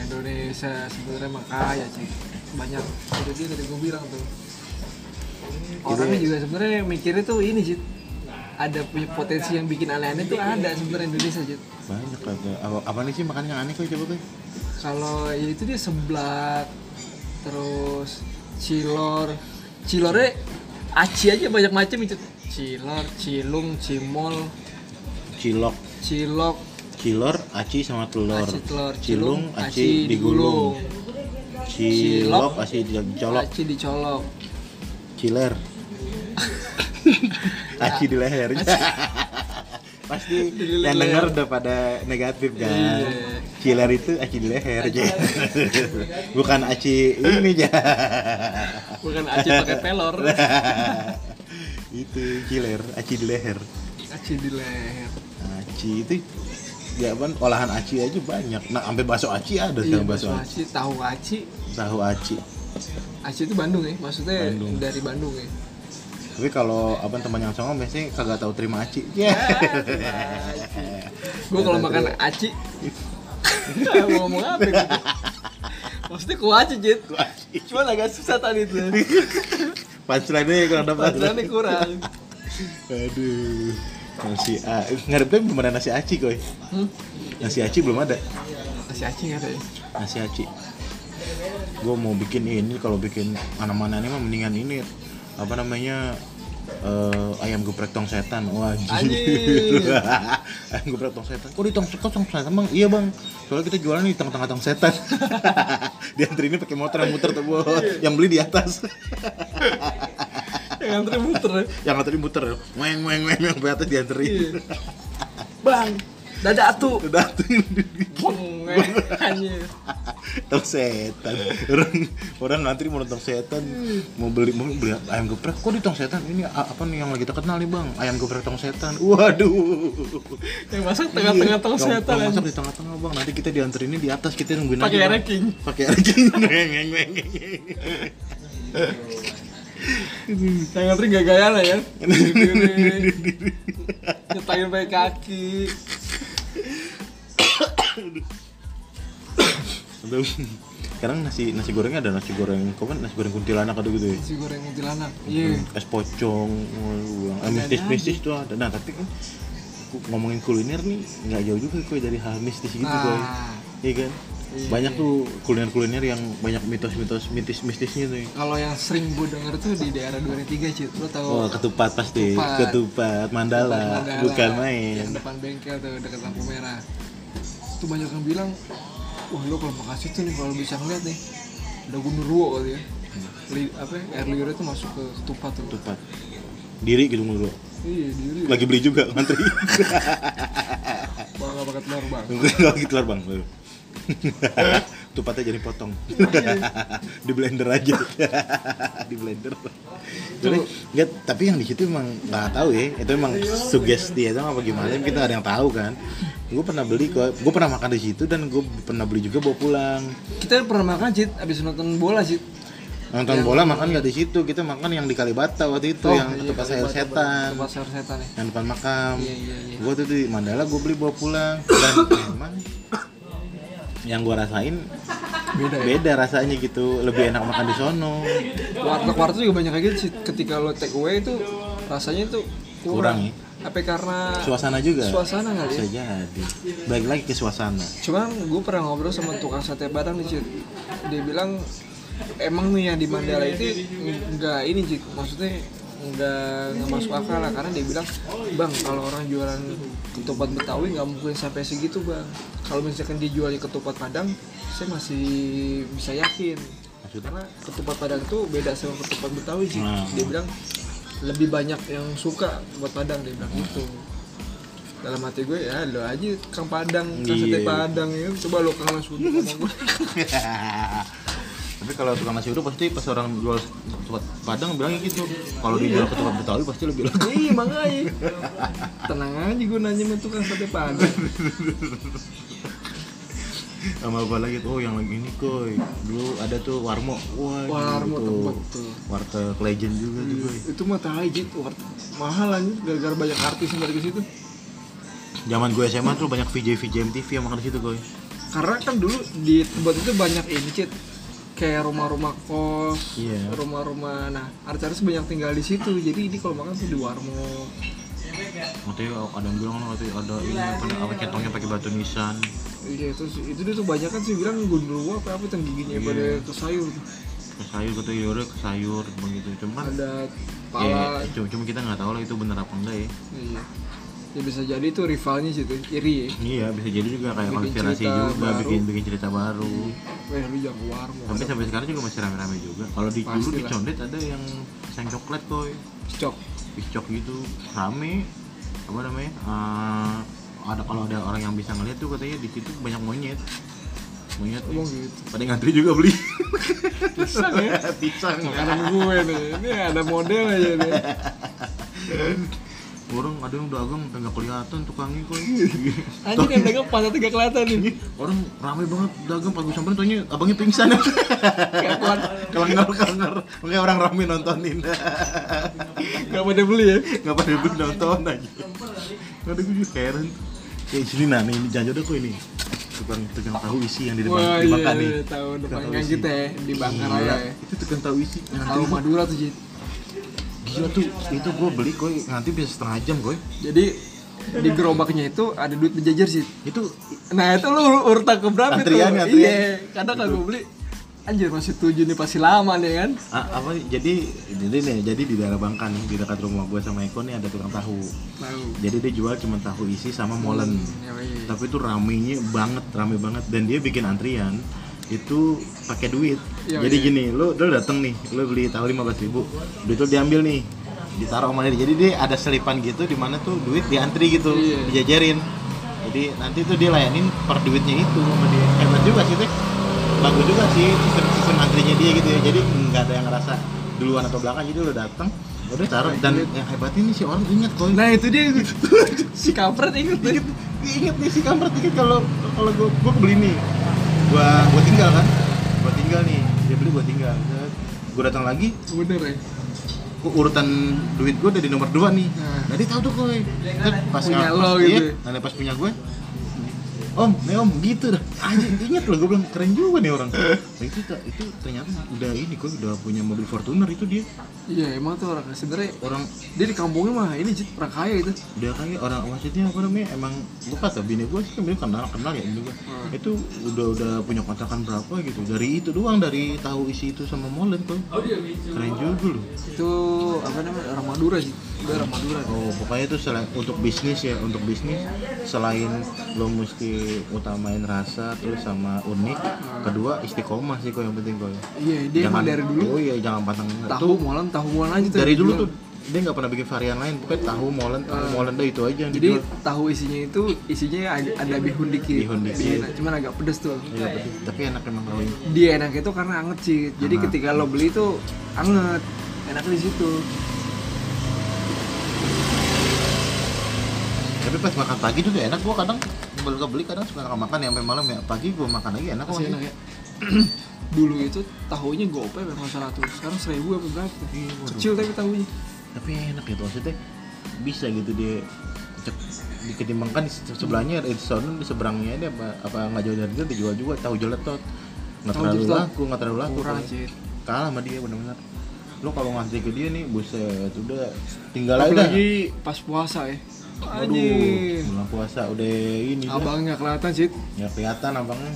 A: Indonesia sebenarnya emang kaya sih. Banyak itu dia tadi gue bilang tuh. Orangnya juga sebenarnya mikirnya tuh ini sih. Ada punya potensi yang bikin aneh-aneh tuh ada sebenarnya Indonesia sih.
B: banyak ada apa, apa nih sih makan yang aneh kok coba kok
A: Kalau ya itu dia seblak, terus cilor, cilornya aci aja banyak macam itu. Cilor, cilung, cimol,
B: cilok
A: cilok,
B: cilor aci sama telur
A: aci telur,
B: cilung aci digulung cilok aci dicolok
A: Aci dicolok.
B: ciler Ya. aci di leher pasti
A: Di leher.
B: yang denger udah pada negatif kan
A: Iya.
B: ciler itu aci di leher aja bukan aci ini aja
A: Bukan aci pakai pelor.
B: itu ciler aci di leher
A: aci di leher
B: aci itu ya kan olahan aci aja banyak nah sampai bakso aci ada
A: iya
B: sekarang bakso
A: bakso
B: aci
A: aci tahu aci
B: tahu aci
A: aci itu Bandung ya maksudnya
B: Bandung.
A: dari Bandung ya
B: tapi kalau apa teman yang songong biasanya kagak tahu terima aci Ya.
A: gue kalau makan aci mau ngomong apa ya? maksudnya kuaci jit
B: aci
A: cuman agak susah tadi tuh
B: punchline-nya kurang dapat
A: Pancelannya kurang
B: aduh nasi A ngarepnya belum ada nasi aci koy
A: hmm?
B: nasi aci belum ada
A: masih aci nggak ada ya
B: nasi aci gue mau bikin ini kalau bikin mana-mana ini mah mendingan ini apa namanya eh, ayam geprek tong setan wah
A: Anjing.
B: anjir ayam geprek tong setan kok di tong kok tong setan bang iya bang soalnya kita jualan di tengah-tengah tong setan diantri ini pakai motor yang muter tuh Bos. yang beli di atas
A: yang antri muter ya.
B: yang ngantri muter weng weng weng yang
A: Iya.
B: atas diantri
A: bang dada atu
B: udah tuh
A: Bong, eh, anjir
B: tong setan orang orang ngantri mau nonton setan mau beli mau beli ayam geprek kok di tong setan ini a- apa nih yang lagi terkenal nih bang ayam geprek tong setan waduh
A: yang masak tengah-tengah
B: Iya.
A: tong setan
B: Tong- tong
A: anjir.
B: masak di tengah-tengah bang nanti kita dianterinnya di atas kita nungguin
A: pakai
B: aja, Bang.
A: ranking
B: pakai ranking Ngeng, ngeng, ngeng, ngeng.
A: yang antri gak gaya lah ya nyetain pakai kaki
B: Aduh. sekarang nasi nasi goreng ada nasi goreng kau kan nasi goreng kuntilanak ada gitu ya
A: si goreng kuntilanak iya
B: es pocong waduh, eh, mistis-mistis tuh ada nah tapi kan ku- ngomongin kuliner nih nggak jauh juga kue dari hal mistis gitu
A: Nah.
B: kue iya kan
A: Iya.
B: banyak tuh kuliner-kuliner yang banyak mitos-mitos mistis-mistisnya tuh
A: kalau yang sering gue denger tuh di daerah 23 cit lo tau
B: Oh, ketupat pasti,
A: Ketupat.
B: ketupat, mandala,
A: Mandala, Iya.
B: bukan
A: yang
B: main.
A: depan bengkel tuh dekat lampu merah tuh banyak yang bilang wah lo kalau makasih tuh nih kalau bisa ngeliat nih ada gundurwo kali ya Li- apa ya, air liurnya tuh masuk ke ketupat tuh
B: Ketupat. Diri gitu mulu.
A: iya diri
B: Lagi beli juga ngantri.
A: bang gak pakai telur bang
B: Lagi telur bang. Tuh. Tupatnya jadi potong.
A: Iya.
B: di blender aja. di blender. Jadi, nggak, tapi yang di situ emang nggak tahu ya. Itu emang sugesti aja apa gimana? Kita nggak ada yang tahu kan. Gue pernah beli kok. Gue pernah makan di situ dan gue pernah beli juga bawa pulang.
A: kita pernah makan cit abis nonton bola cit
B: Nonton bola makan nggak di situ. Kita makan yang di Kalibata waktu itu yang
A: iya,
B: ketupat sayur
A: ketupat-
B: setan.
A: ketupat sayur setan ya
B: yang depan makam
A: Iya, iya, iya.
B: gue tuh di Mandala gue beli bawa pulang dan memang yang gue rasain
A: beda ya
B: beda rasanya gitu lebih enak makan di sono
A: Gitu. warteg-warteg juga banyak kayak gitu sih ketika lo take away itu rasanya tuh
B: Kurang
A: kurang,
B: ya?
A: apa karena
B: suasana juga
A: suasana kali ya
B: bisa jadi balik lagi ke suasana
A: cuman gue pernah ngobrol sama tukang sate Padang nih Cid dia bilang emang nih yang di Mandala itu nggak ini Cid maksudnya nggak nggak masuk akal lah karena dia bilang bang kalau orang jualan ketupat Betawi nggak mungkin sampai segitu bang kalau misalkan dia jualnya ketupat Padang saya masih bisa yakin
B: maksudnya
A: Gitu, karena ketupat Padang tuh beda sama ketupat Betawi sih
B: Hmm.
A: dia bilang lebih banyak yang suka ketupat Padang dia bilang gitu dalam hati gue ya lo aja kang Padang kang sate
B: Iya.
A: Padang ya coba lo kang nasi uduk sama gue
B: tapi kalau tukang nasi uduk pasti pas orang jual ketupat padang bilangnya gitu kalau dijual ketupat betawi pasti lebih laku
A: iya makanya tenang aja gue nanya sama tukang sate Padang
B: sama apa lagi tuh oh yang lagi ini koi dulu ada tuh warmo wah
A: Warmo
B: gitu.
A: tempat tuh. Hmm.
B: warteg legend juga tuh koi
A: itu mah tai jit warteg. mahal aja gara-gara banyak artis yang dari ke situ
B: Zaman gue SMA tuh banyak VJ VJ MTV yang makan di situ gue.
A: karena kan dulu di tempat itu banyak ini Cid. kayak rumah-rumah kos
B: Iya.
A: rumah-rumah nah artis-artis banyak tinggal di situ jadi ini kalau makan tuh di warmo
B: Waktu itu ada yang bilang waktu itu ada ini apa apa centongnya pakai batu nisan.
A: iya terus itu dia tuh banyak kan sih bilang gundurwo apa apa yang giginya pada itu sayur
B: Ke sayur kata ya udah ke sayur begitu. gitu. Cuman
A: ada
B: ya,
A: pala
B: cuma, cuma kita nggak tahu lah itu bener apa enggak ya.
A: iya ya bisa jadi itu rivalnya situ iri ya
B: Iya bisa jadi juga kayak
A: Bikin
B: konspirasi
A: cerita
B: juga
A: baru.
B: bikin bikin cerita baru.
A: weh lu jangan ke warmo
B: Tapi sampai sekarang juga masih rame-rame juga. Kalau di dulu
A: Pastilah.
B: di Condet ada yang sang coklat koi,
A: cok
B: piscok gitu rame apa namanya? Eh, ada kalau ada orang yang bisa ngeliat tuh katanya di situ banyak monyet. Monyet.
A: ngomong gitu
B: Pada ngantri juga beli.
A: pisang ya
B: Pisang. Iya.
A: makanan gue nih ini ada model aja nih
B: orang ada yang dagang nggak kelihatan tukangnya kok
A: Anjing yang dagang pas tiga kelihatan nih.
B: orang ramai banget dagang pagi sampai tanya abangnya pingsan
A: Gak kuat.
B: kelengar kelengar makanya orang ramai nontonin
A: Gak pada beli ya.
B: nggak pada beli nonton aja ada gue juga heran kayak sini nah nih ini jangan jodoh kok ini tukang tukang tahu isi yang di depan
A: Wah,
B: di Bangka
A: iya,
B: nih
A: iya, tahu
B: Tukang
A: depannya
B: isi.
A: kita ya di Bangka
B: Gila,
A: Raya ya.
B: itu tukang tahu isi
A: Tahu Madura tuh, Jit.
B: gila tuh itu gue beli koi nanti bisa setengah jam koi
A: Jadi di gerobaknya itu ada duit berjejer sih.
B: itu
A: Nah, itu lu urutan ke berapa tuh?
B: Antrian, antrian.
A: Iya, kadang kalau gue beli anjir masih tujuh nih pasti lama nih kan.
B: ah, apa jadi jadi nih jadi di daerah Bangka nih di dekat rumah gue sama Eko nih ada tukang tahu
A: Tahu. Hmm, iya,
B: jadi dia jual cuma tahu isi sama molen
A: Yoi.
B: tapi itu ramenya banget rame banget dan dia bikin antrian itu pakai duit
A: Iya,
B: jadi
A: iya.
B: gini lu lu dateng nih lu beli tahu lima belas ribu duit lu diambil nih ditaruh sama dia jadi dia ada selipan gitu di mana tuh duit diantri gitu
A: Iya.
B: dijajarin jadi nanti tuh dia layanin per duitnya itu sama dia hebat juga sih Tek. bagus juga sih sistem sistem antrinya dia gitu ya jadi nggak ada yang ngerasa duluan atau belakang jadi lu dateng udah taruh dan yang hebat ini si orang inget kok
A: Nah, itu dia si kampret itu.
B: Ingat, ingat nih si kampret tiket kalau kalau gua gua beli nih. Gua gua tinggal kan. Gua tinggal nih. Dia beli gua tinggal. Set. Gua datang lagi,
A: Bener ya.
B: gua urutan duit gua dari nomor 2 nih.
A: Nah.
B: Jadi tahu tuh gue. Set, Pas
A: Punya
B: nggak-
A: lo
B: pas-
A: gitu.
B: iya, Nah, pas punya gue. Om, nih om gitu dah. Anjing inget loh, gue bilang keren juga nih orang. Nah, itu itu ternyata udah ini gue udah punya mobil Fortuner itu dia.
A: Iya, emang tuh orang sebenarnya
B: Orang
A: dia di kampungnya mah ini Jit, orang kaya gitu.
B: udah kayak kan orang maksudnya apa namanya emang lupa tuh bini gue sih kan bini kenal kenal ya bini gue
A: Hmm.
B: itu udah udah punya kontrakan berapa gitu dari itu doang dari tahu isi itu sama molen tuh
A: Oh, iya,
B: keren juga loh
A: Itu apa namanya? Orang Madura sih. Dia orang Madura.
B: oh pokoknya itu selain untuk bisnis ya untuk bisnis selain lo mesti utamain rasa terus sama unik kedua istiqomah sih kok yang penting kok ya.
A: Iya, dia emang dari dulu
B: oh iya jangan pantang
A: tahu molen tahu molen aja tuh Iya.
B: dari
A: yang
B: dulu
A: dijual.
B: tuh dia nggak pernah bikin varian lain pokoknya tahu molen tahu molen deh itu aja yang
A: Hmm. jadi
B: dijual.
A: tahu isinya itu isinya ada, ada bihun dikit
B: Bihun dikit.
A: cuman agak pedes tuh
B: Iya, betul. tapi enak emang tahunya
A: dia enak itu karena anget sih jadi
B: Karena-
A: ketika lo beli itu anget enak di situ
B: tapi pas makan pagi juga enak gua kadang beli beli kadang suka nggak makan ya sampai malam ya pagi gua makan lagi enak kok
A: masih enak ya dulu itu tahunya gope memang seratus sekarang seribu apa berapa
B: Iya, waduh.
A: kecil tapi tahunya
B: tapi enak gitu maksudnya bisa gitu dia cek- di- ketimbangkan di se- sebelahnya ada Edison di seberangnya ini apa apa nggak jauh dari itu dijual juga tahu jeletot nggak
A: Tahu
B: terlalu
A: jeletot.
B: laku nggak terlalu laku
A: kurang
B: pokoknya.
A: sih
B: kalah sama dia benar-benar lo kalau ngasih ke dia nih buset udah tinggal aja dah
A: apalagi pas puasa ya
B: aduh
A: Anjir.
B: bulan puasa udah ini dah.
A: abangnya kelihatan sih
B: ya kelihatan abangnya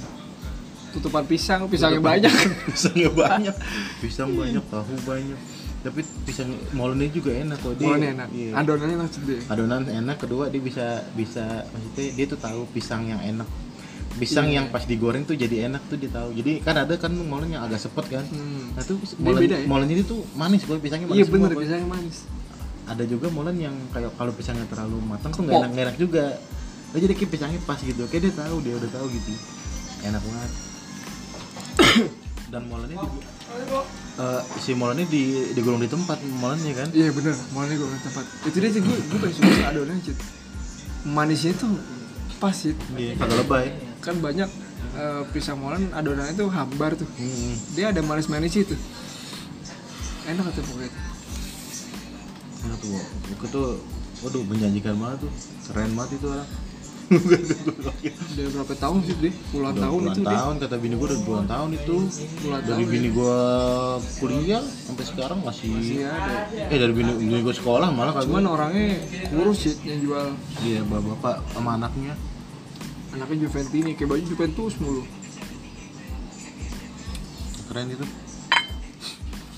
A: tutupan pisang pisangnya banyak
B: pisangnya banyak pisang banyak tahu banyak tapi pisang molennya juga enak kok dia
A: molennya enak
B: Iya.
A: adonannya langsung deh
B: adonan enak kedua dia bisa bisa maksudnya dia tuh tahu pisang yang enak pisang
A: Iya.
B: yang pas digoreng tuh jadi enak tuh dia tahu jadi kan ada kan molen yang agak sepet kan
A: Hmm.
B: nah tuh
A: Dia
B: molen
A: beda ya?
B: molen ini tuh manis kok pisangnya manis
A: iya
B: semua,
A: bener
B: Boy.
A: pisangnya manis
B: ada juga molen yang kayak kalau pisangnya terlalu matang tuh
A: Kepok.
B: nggak enak nggak enak juga Nah, jadi kayak pisangnya pas gitu kayak dia tahu dia udah tahu gitu enak banget dan molennya di, Eh, si molennya di digulung di tempat molennya kan
A: Iya bener, malahnya gue tempat Itu dia sih, gue, gue paling suka sih adonannya Cid Manisnya tuh pas sih
B: Iya, kagak lebay
A: Kan banyak eh, pisang molen adonannya tuh hambar tuh
B: Hmm.
A: Dia ada manis-manis itu Enak tuh pokoknya
B: Enak tuh, buku tuh, waduh menjanjikan banget tuh, keren banget itu orang.
A: Udah berapa tahun sih deh, puluhan
B: Udah
A: tahun
B: puluhan
A: itu deh
B: tahun, kata bini gua udah puluhan tahun itu.
A: Puluhan
B: Dari
A: tahun
B: bini gua kuliah sampai sekarang masih.
A: Iya ada
B: Eh dari bini, bini gua sekolah malah kagak.
A: Cuman orangnya kurus sih yang jual
B: Iya bapak-bapak sama anaknya.
A: Anaknya Juventini, kayak baju Juventus mulu
B: Keren itu.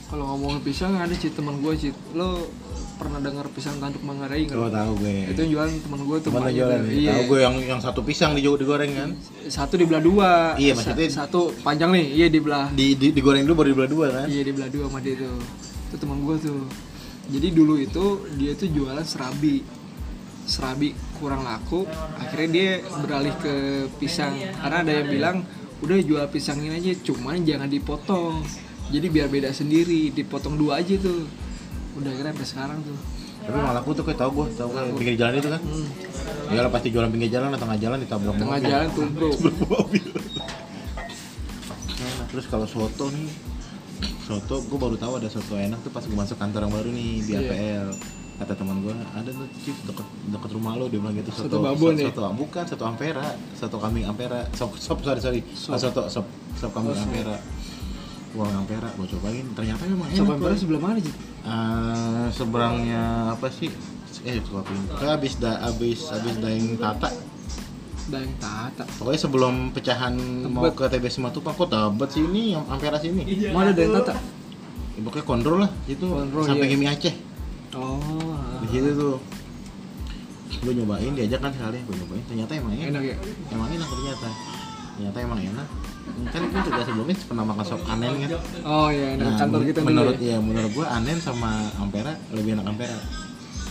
A: Kalau ngomongin pisang ada sih teman gue sih Lo pernah denger pisang tanduk manggarai nggak?
B: Gua Oh, tahu gue.
A: Itu yang jualan teman gue tuh
B: Mana
A: Mak.
B: iya. jualan?
A: Iya.
B: Tahu gue yang yang satu pisang digo- digoreng kan.
A: satu dibelah dua
B: Iya,
A: Sa-
B: maksudnya-
A: satu panjang nih iya dibelah
B: Di, di digoreng dulu baru dibelah dua kan.
A: iya dibelah dua sama dia tuh itu teman gue tuh jadi dulu itu dia tuh jualan serabi serabi kurang laku akhirnya dia beralih ke pisang karena ada yang bilang udah jual pisangin aja cuman jangan dipotong jadi biar beda sendiri dipotong dua aja tuh udah akhirnya sampai sekarang tuh
B: tapi malah aku tuh kayak tau gue tau gue pinggir jalan itu kan iyalah pasti jualan pinggir jalan atau tengah jalan ditabrak
A: Hmm. tengah
B: mobil.
A: jalan tubruk
B: Tabrak mobil Nah, terus kalau soto nih soto gue baru tahu ada soto enak tuh pas gue masuk kantor yang baru nih di
A: Iya.
B: APL kata teman gue ada tuh chief deket deket rumah lo dia bilang gitu
A: Soto babon ya?
B: soto bukan soto ampera soto kambing ampera sop sop sorry sorry
A: Sop.
B: Ah, soto sop sop kambing
A: Oh, sop.
B: ampera uang ampera gue cobain ternyata memang enak
A: sampai
B: Boy.
A: mana sebelah mana sih
B: Eh, seberangnya apa sih? Eh, suka pin. Kayak abis da abis abis daing tata.
A: Daeng Tata
B: Pokoknya sebelum pecahan mau ke TB Simatupang kok tabat sini, yang ampera sini.
A: mana Daeng Tata
B: Ya, pokoknya kontrol lah itu
A: Kontrol,
B: sampai
A: iya.
B: Gimi Aceh.
A: oh
B: Di situ tuh gue nyobain diajak kan sekali gue nyobain ternyata emang
A: enak
B: enak
A: ya
B: emang enak ternyata ternyata emang enak kan itu juga sebelumnya pernah makan sop anen kan
A: oh ya enak
B: Nah,
A: kantor kita dulu
B: menurut
A: ya
B: ya menurut gue anen sama ampera lebih enak ampera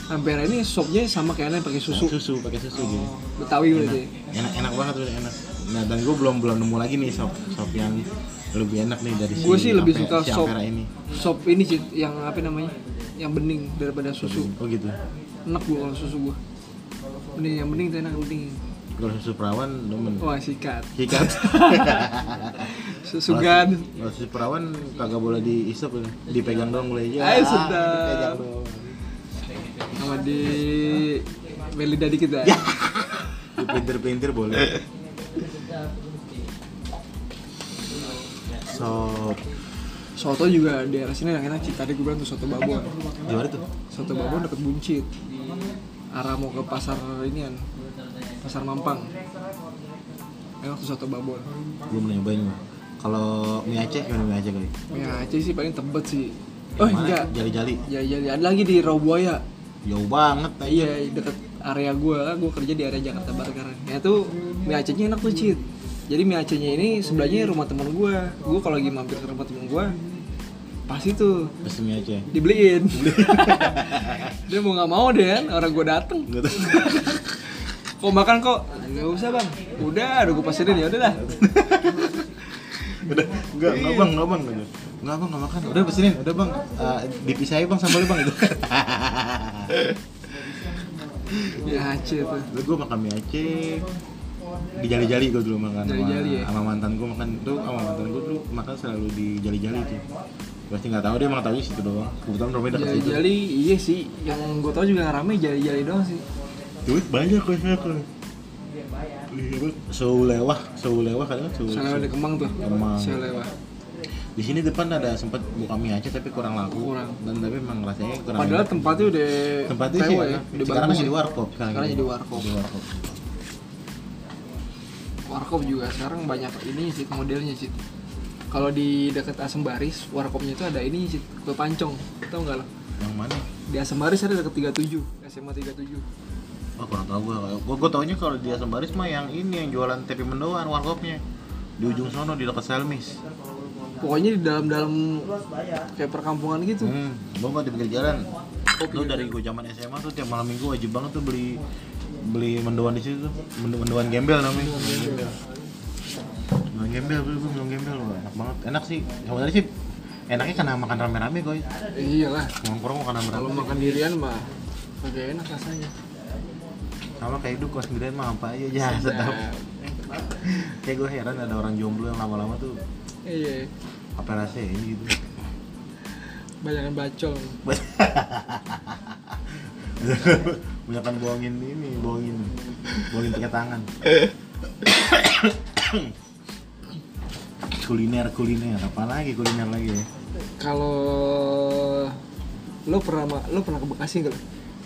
B: Nah,
A: Ampera ini sopnya sama kayak yang pakai susu
B: susu pakai susu gitu
A: Oh, Betawi berarti
B: enak, enak enak banget udah enak nah dan gue belum belum nemu lagi nih sop sop yang lebih enak nih dari si
A: Gua sih lebih
B: Ampe-
A: suka
B: si
A: sop.
B: Ampera ini
A: sop ini sih yang apa namanya yang bening daripada susu
B: oh gitu
A: enak gua kalau susu gua ini yang bening tuh enak bening
B: kalau susu perawan demen
A: wah sikat
B: sikat
A: susu kan? gan
B: kalau susu perawan kagak boleh diisep ya. dipegang doang boleh aja
A: Ay, sedap.
B: dipegang doang
A: sama di ya. beli dadi kita
B: Ya. dipintir-pintir boleh sop
A: soto juga di daerah sini enak enak sih tadi gua bilang tuh soto babon
B: gimana tuh
A: soto babon deket buncit arah mau ke pasar ini kan pasar mampang enak tuh soto babon
B: gue mau nyobain gua. kalau mie Aceh gimana mie Aceh kali
A: ya Aceh sih paling tebet sih oh enggak
B: jali-jali
A: ya ya ya. ada lagi di Rawabuaya
B: jauh banget
A: Nah,
B: aja
A: iya deket area gua gua kerja di area Jakarta Barat sekarang ya tuh mie Acehnya enak tuh Cid jadi mie Acehnya ini sebelahnya rumah teman gua gua kalau lagi mampir ke rumah teman gua pasti tuh
B: pasti mie Aceh
A: dibeliin dia mau nggak mau deh kan orang gua dateng
B: Nggak tahu.
A: kok makan kok nggak usah bang udah udah gua pasinin ya udahlah
B: udah enggak enggak bang enggak bang gitu. enggak bang enggak makan udah pesenin udah bang Eh, dipisahin bang sambalnya bang gitu
A: ya Aceh tuh
B: lalu gue makan mie Aceh di jali-jali gue dulu makan sama-
A: Jali-jali ya?
B: sama mantan gue makan tuh sama mantan gue dulu makan selalu di jali-jali tuh pasti nggak tahu dia emang tahu situ doang kebetulan rumahnya dekat situ
A: jali-jali iya sih yang gua tau juga yang rame jali-jali doang sih
B: duit banyak kok saya kok Iya, Bang. Seulewah, Seulewah kadang kan Seulewah.
A: Selewa di Kemang tuh
B: Kemang.
A: Selewa
B: Di sini depan ada sempat buka mie Aceh tapi kurang laku.
A: Kurang.
B: Dan tapi emang rasanya kurang.
A: Padahal
B: enak.
A: tempatnya udah
B: tempatnya
A: PW
B: sih
A: ya,
B: ya.
A: udah
B: sekarang
A: bagus
B: jadi
A: ya.
B: warkop sekarang,
A: Sekarang jadi warkop.
B: Jadi warkop.
A: Warkop juga sekarang banyak ini sih modelnya sih. Kalau di dekat Asem Baris, warkopnya itu ada ini sih, kue pancong. Tau nggak lo?
B: yang mana
A: Di Asem Baris ada dekat 37, SMA 37.
B: oh kurang tahu gue gue gue taunya kalau di Asam Baris mah yang ini yang jualan tepi mendoan warkopnya di ujung sono di dekat Selmis
A: Pokoknya di dalam-dalam kayak perkampungan gitu.
B: hmm gue nggak di pinggir jalan Lu dari gue zaman SMA tuh tiap malam minggu wajib banget tuh beli beli mendoan di situ tuh Mendo- mendoan gembel namanya mendoan gembel mendoan gembel beli gue mendoan gembel Wah, enak banget enak sih sebenarnya sih enaknya karena makan rame-rame gue
A: Eh, iyalah,
B: nongkrong makan
A: kalau
B: rame-rame
A: makan dirian mah kagak enak rasanya.
B: sama kayak hidup kelas 9 mah apa aja ya sedap
A: Nah,
B: kayak gue heran ada orang jomblo yang lama-lama tuh
A: iya,
B: apa rasanya ini gitu
A: banyakan bacong.
B: Banyakan bohongin ini bohongin bohongin pakai tangan kuliner kuliner apa lagi kuliner lagi ya
A: Kalau lo pernah ma- lo pernah ke Bekasi nggak? lo?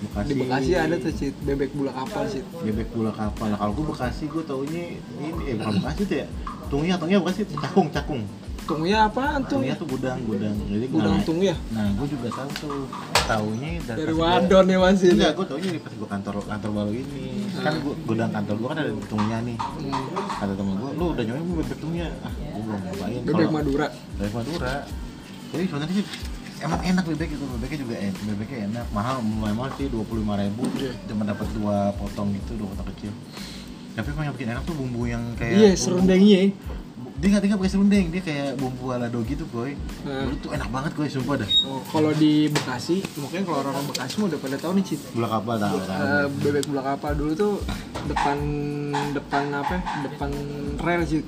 B: Bekasi
A: Di Bekasi ada tuh Cid, bebek bulak kapal Cid.
B: bebek bola kapal kalau gue Bekasi gue taunya ini eh bukan Bekasi tuh ya tungnya tungnya Bekasi cakung cakung
A: Tungnya apaan tuh?
B: tungnya tuh gudang gudang jadi
A: Gudang
B: nah,
A: tung ya?
B: nah gue juga tahu tuh taunya
A: Dari
B: pas gua-
A: Wadon ya Mas ini.
B: enggak gue taunya di pas gue kantor kantor baru ini kan gue gudang kantor gue kan ada tungnya nih
A: Hmm,
B: kata temen gue lu udah nyobain bebek betulnya ah gue belum nyobain
A: Bebek
B: Kalau-
A: Madura.
B: bebek madura jadi sebenarnya sih emang enak bebek itu bebeknya juga en bebeknya enak mahal memang sih dua puluh lima ribu
A: Iya.
B: cuma dapat dua potong gitu dua potong kecil tapi emang yang bikin enak tuh bumbu yang kayak
A: Iya,
B: bumbu-
A: serundengnya. ya.
B: bu- dia nggak dia nggak pakai serundeng dia kayak bumbu ala dogi tuh koi
A: Nah.
B: itu tuh enak banget koi sumpah dah
A: Oh, kalau di Bekasi, mungkin kalau orang-orang Bekasi mah udah pada tahu nih Cit.
B: gula kapal tahu tahu
A: Eh, bebek bulak apa dulu tuh depan depan apa ya, depan rel sih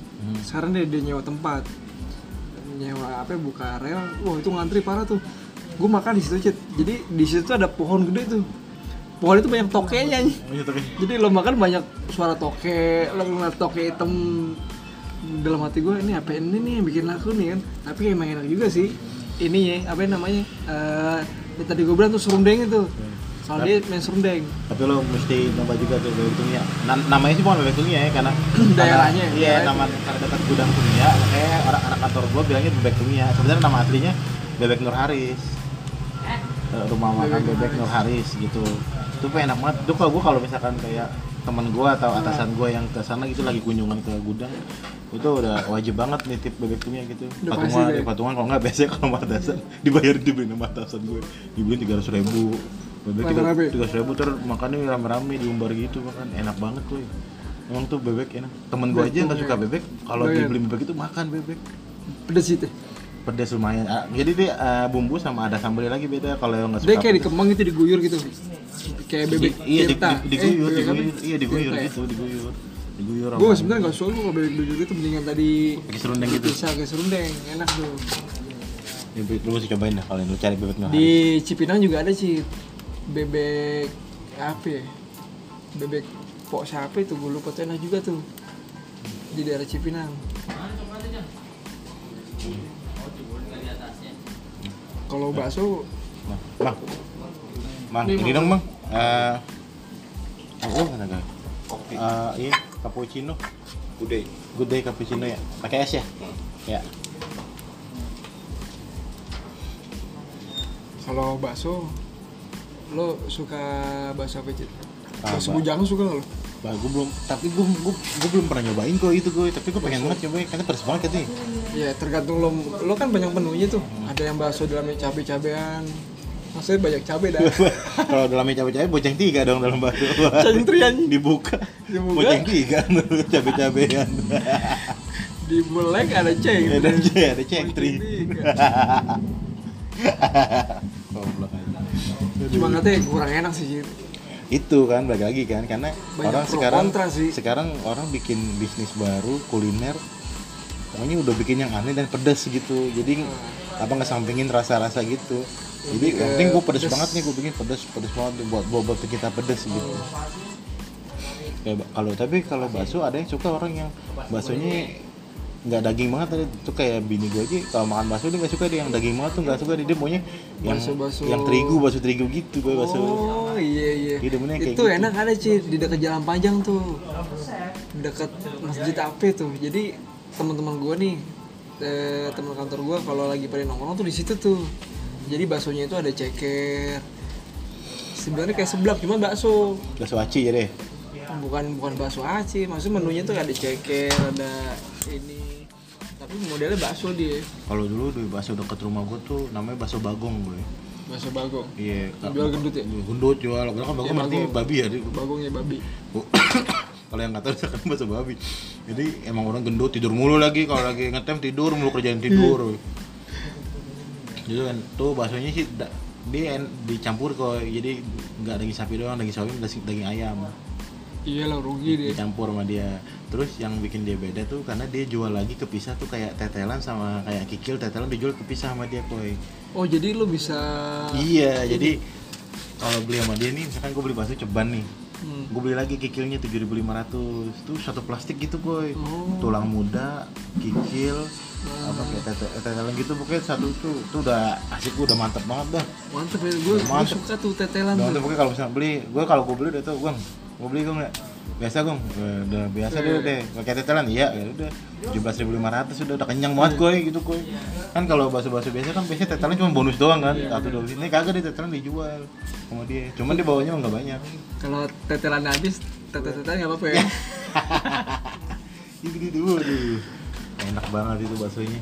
A: sekarang dia, dia nyewa tempat nyewa apa ya, buka rel wah itu ngantri parah tuh gue makan di situ cit jadi di situ tuh ada pohon gede tuh pohon itu banyak tokenya anjing.
B: Iya, tapi
A: jadi lo makan banyak suara toke lo ngeliat toke hitam dalam hati gue ini apa ini nih yang bikin laku nih kan tapi emang enak juga sih ini ya apa namanya Eh, yang tadi gue bilang tuh serundeng itu soalnya dia main serundeng
B: tapi lo mesti nambah juga tuh bebek tunia Na- namanya sih bukan bebek tunia ya karena
A: Daerahnya, ya,
B: karena- iya
A: daerahnya.
B: nama karena dekat gudang tunia makanya orang anak kantor gua bilangnya bebek tunia sebenarnya nama aslinya bebek nur haris Eh, rumah makan bebek nur haris gitu itu tuh enak banget tuh kalau gua kalau misalkan kayak teman gua atau atasan gua yang ke sana gitu lagi kunjungan ke gudang itu udah wajib banget nitip bebek tunia gitu
A: Udah pasti
B: patungan
A: deh.
B: ya patungan kalau nggak biasanya kalau sama atasan dibayarin dibeliin sama atasan gue dibeliin tiga ratus ribu bebek
A: Makan apa ya?
B: tiga ratus ribu ter makannya rame-rame diumbar gitu makan enak banget tuh emang tuh bebek enak temen gue aja yang nggak suka bebek kalau
A: Doyan.
B: dibeli bebek itu makan bebek
A: pedes itu
B: pedas lumayan Ah, jadi dia ah, bumbu sama ada sambelnya lagi beda kalau yang nggak suka
A: dia kayak di
B: pedas.
A: Kemang gitu diguyur gitu kayak bebek
B: Di- iya di,
A: tirta.
B: di- diguyur
A: eh,
B: diguyur iya diguyur gitu diguyur diguyur
A: gue
B: sama-
A: sebenarnya nggak suka gue kalau bebek diguyur itu mendingan tadi
B: pakai serundeng gitu
A: bisa kayak serundeng enak tuh
B: Ya, lu mesti cobain dah kalau lu cari bebek nggak
A: di Cipinang juga ada sih bebek apa ya bebek pok siapa itu gue lupa tuh enak juga tuh di daerah Cipinang kalau bakso
B: Bang, bang, bang,
A: Nih,
B: ini dong bang. Eh, aku apa naga? Eh, iya, cappuccino. Good day. Good day cappuccino ya. Pakai es ya? Ya.
A: kalau bakso lo suka bakso apa Cip?
B: Ah,
A: bakso
B: bak-
A: bujang suka nggak lo?
B: Bah, gue belum, tapi gue gue gue belum pernah nyobain kok itu gue, tapi gue pengen banget nyobain karena pedes banget katanya.
A: Ya tergantung lo, lo kan banyak menunya tuh. Ada yang bakso dalamnya cabai-cabean. Maksudnya banyak cabai dah.
B: Kalau dalamnya cabai-cabai boceng tiga dong dalam batu.
A: Centrian.
B: Dibuka.
A: Dibuka.
B: Boceng tiga cabai-cabean.
A: Di belek ada ceng.
B: Ada ceng, ada cengtri. Goblok aja.
A: Cuma katanya kurang enak sih. Jir.
B: itu kan balik lagi kan karena
A: Banyak
B: orang
A: pro
B: sekarang
A: kontra sih.
B: sekarang orang bikin bisnis baru kuliner pokoknya udah bikin yang aneh dan pedas gitu jadi
A: Ah.
B: apa ngesampingin rasa-rasa gitu jadi yang penting gue pedas banget nih gue bikin pedas pedas banget nih buat buat buat kita pedas gitu Ya, ba- kalau tapi kalau bakso ada yang suka orang yang baksonya nggak daging banget ada tuh kayak bini gue aja kalau makan bakso dia nggak suka dia yang daging banget tuh nggak suka dia, dia maunya yang
A: Bakso-bakso.
B: yang terigu bakso terigu gitu gue bakso
A: Oh iya iya.
B: Jadi demennya kayak
A: Itu
B: gitu.
A: enak ada sih di dekat jalan panjang tuh. Dekat masjid apa tuh. Jadi teman-teman gue nih eh, teman kantor gue kalau lagi pada nongkrong tuh di situ tuh. Jadi baksonya itu ada ceker. Sebenarnya kayak seblak cuma bakso.
B: bakso aci ya deh
A: bukan bukan bakso aci maksudnya menunya tuh ada ceker ada ini tapi modelnya bakso dia
B: Kalau dulu di bakso deket rumah gue tuh namanya bakso bagong gue.
A: bakso bagong
B: Iya. Kak.
A: jual gendut ya
B: Gendut jual. Kalau kan bagong
A: Iya,
B: berarti
A: bagong.
B: babi ya. Di-
A: bagongnya babi
B: Bu- Kalau yang nggak tahu kan bakso babi. Jadi emang orang gendut tidur mulu lagi kalau lagi ngetem tidur mulu kerjaan tidur. Jadi kan tuh baksonya sih da- dia en- dicampur kok jadi nggak daging sapi doang daging sapi daging, daging ayam
A: iya lah rugi dia
B: dicampur sama dia terus yang bikin dia beda tuh karena dia jual lagi kepisah tuh kayak tetelan sama kayak kikil tetelan dijual kepisah sama dia koi
A: oh jadi lu bisa
B: Iya, jadi kalau beli sama dia nih, misalkan gue beli bakso ceban nih,
A: Hmm.
B: gue beli lagi kikilnya 7.500 tuh satu plastik gitu boy,
A: Oh.
B: tulang muda, kikil, apa kayak tete- tetelan gitu pokoknya satu tuh, tuh udah asik udah mantep banget dah.
A: mantep ya gue
B: Mantep.
A: suka tuh tetelan
B: Udah
A: tuh
B: mantep pokoknya kalau misalnya beli, gue kalau gue beli udah tuh gue, gue beli gue nggak biasa gue udah biasa deh deh pakai tetelan iya ya udah 17.500 udah udah kenyang banget gue gitu gue kan kalau bakso-bakso biasa kan biasanya tetelan cuma bonus doang kan
A: Iya.
B: satu dua ini kagak deh tetelan dijual sama dia cuman dia bawanya nggak banyak
A: kalau tetelan habis tetelan nggak apa-apa
B: Iya.
A: ya
B: gitu gitu waduh enak banget itu baksonya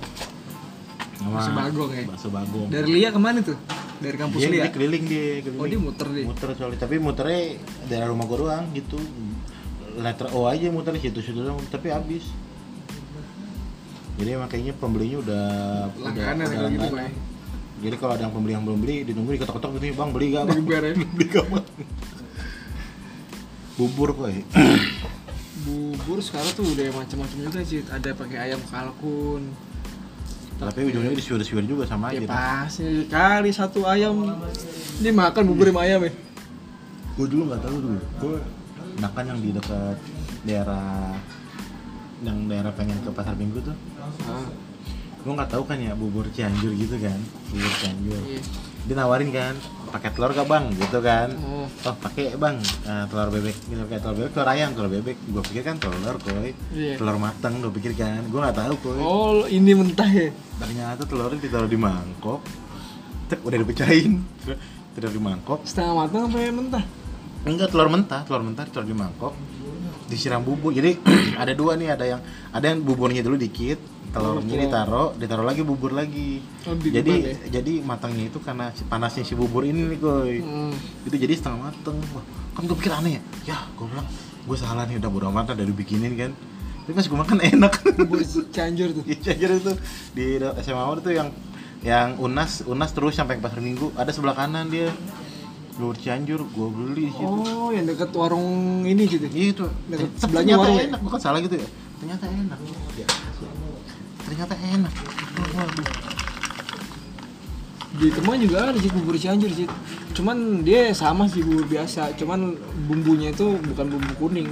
B: Sama
A: Bakso bagong ya?
B: bakso bagong
A: dari Lia kemana tuh dari kampus
B: Iya, dia,
A: Lia
B: dia keliling dia keliling.
A: oh dia muter dia
B: muter soalnya tapi muternya daerah rumah gue doang gitu letter O aja muter situ-situ doang tapi habis jadi emang kayaknya pembelinya udah
A: langganan ya,
B: udah
A: kalau gitu pak
B: langganan.
A: ya
B: jadi kalau ada yang pembeli yang belum beli ditunggu diketok-ketok gitu bang beli gak bang
A: Digeber ya.
B: beli gak bang bubur kok ya
A: bubur sekarang tuh udah macam-macam juga sih ada pakai ayam kalkun
B: tapi ujungnya disiwer-siwer juga sama
A: ya
B: aja
A: pasti kali satu ayam ini makan bubur sama ayam ya
B: gue dulu nggak tahu dulu gue makan yang di dekat daerah yang daerah pengen ke pasar minggu tuh
A: ah,
B: gue nggak tahu kan ya bubur cianjur gitu kan bubur cianjur
A: iya.
B: dia nawarin kan pakai telur gak bang gitu kan
A: Oh,
B: oh pakai bang eh, telur bebek gitu kayak telur bebek telur ayam telur bebek gue pikir kan telur koi
A: iya.
B: telur matang gue pikir kan gue nggak tahu koi
A: oh ini mentah ya
B: ternyata telurnya ditaruh di mangkok cek udah dipecahin telur di mangkok
A: setengah matang apa yang mentah
B: enggak telur mentah telur mentah telur di mangkok disiram bubur jadi ada dua nih ada yang ada yang buburnya dulu dikit
A: Oh,
B: telurnya
A: telur.
B: ditaruh ditaruh lagi bubur lagi
A: Oh, di
B: jadi
A: depan
B: jadi matangnya itu karena si- panasnya si bubur ini nih koi
A: Hmm.
B: itu jadi setengah mateng Wah, kan gue pikir aneh ya ya gue bilang gue salah nih udah bodo amat udah dibikinin kan tapi pas gue makan enak
A: bubur cianjur tuh
B: jajar itu di SMA Awal itu yang yang unas unas terus sampai ke pasar minggu ada sebelah kanan dia luar Cianjur gue beli di situ
A: oh yang dekat warung ini gitu
B: Iya itu.
A: Deket
B: Ter-
A: sebelahnya
B: ternyata
A: warung ya?
B: enak, bukan salah gitu ya. Ternyata enak. Ya, Ternyata enak. Waduh.
A: di teman juga ada sih bubur cianjur sih cuman dia sama sih bubur biasa cuman bumbunya itu bukan bumbu kuning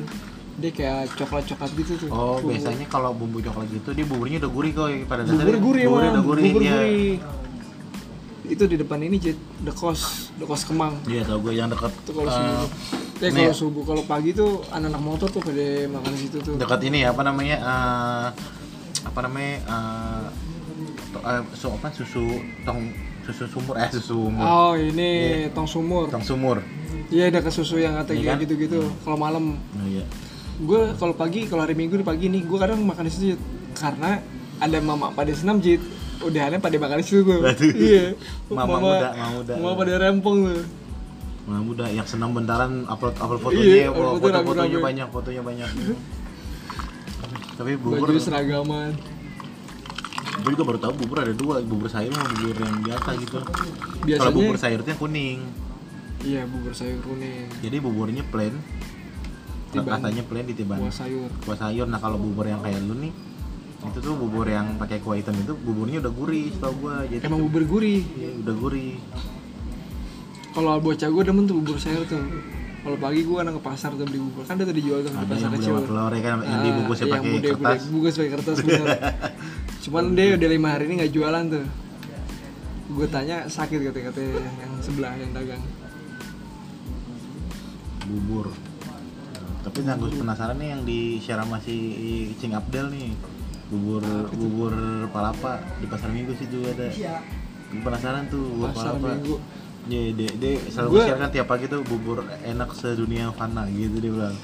A: dia kayak coklat coklat gitu tuh
B: Oh,
A: Bumbu-
B: biasanya kalau bumbu coklat gitu dia buburnya udah gurih kok pada dasarnya.
A: bubur gurih
B: buburnya
A: emang
B: udah gurih iya.
A: bubur
B: dia.
A: gurih itu di depan ini Jit, the kos the kos kemang
B: Iya, tau gue yang dekat
A: itu kalau
B: eh,
A: subuh ya
B: ini
A: kalau
B: ya?
A: subuh kalau pagi tuh anak-anak motor tuh pada makan di situ tuh
B: dekat ini ya, apa namanya? eh, apa namanya? eh, to- eh, su- apa susu tong susu sumur eh susu sumur.
A: oh ini tong sumur
B: Iya. Tong sumur.
A: iya ada susu yang kata
B: Iya kan?
A: gitu-gitu kalau malam
B: Oh, iya.
A: gue kalau pagi kalau hari minggu di pagi nih gue kadang makan di situ Jit. karena ada mama pada senam jit udahannya pada makan di situ tuh
B: Waduh.
A: iya
B: Mama muda, mama muda.
A: mama pada rempong tuh
B: Nah, muda yang senang bentaran upload upload
A: Iya,
B: fotonya,
A: upload
B: foto fotonya,
A: rame-rame.
B: banyak, fotonya banyak. Tapi bubur,
A: baju seragaman
B: gue juga baru tahu bubur ada dua, bubur sayur sama bubur yang biasa gitu. Kalau
A: Biasanya-
B: bubur sayurnya kuning,
A: iya bubur sayur kuning
B: jadi buburnya plain,
A: Tiban.
B: rasanya plain di tiban.
A: buah sayur
B: Kuah sayur. Nah kalau bubur yang kayak lu nih, itu tuh bubur yang pakai kuah hitam itu buburnya udah gurih, tau gua. Jadi
A: emang bubur gurih
B: iya, udah gurih.
A: kalau bocah gue demen tuh bubur sayur tuh kalau pagi gue kadang ke pasar tuh beli bubur kan dia tuh dijual tuh di
B: Ada
A: pasar
B: yang
A: kecil
B: udah telur ya kan, yang dibungkusnya
A: Ah, iya,
B: pakai
A: budek-
B: kertas.
A: budek- bungkus pakai kertas bener. cuman dia udah lima hari ini nggak jualan tuh gue tanya sakit kata-kata yang sebelah yang dagang
B: bubur Nah, tapi yang gue penasaran nih yang di share sama si Cing Abdel nih bubur bubur palapa di pasar minggu situ ada gue penasaran tuh bubur
A: Pasar
B: palapa
A: Minggu.
B: Iya, dia, dia selalu
A: Gua-
B: share kan tiap pagi tuh bubur enak sedunia fana gitu dia bilang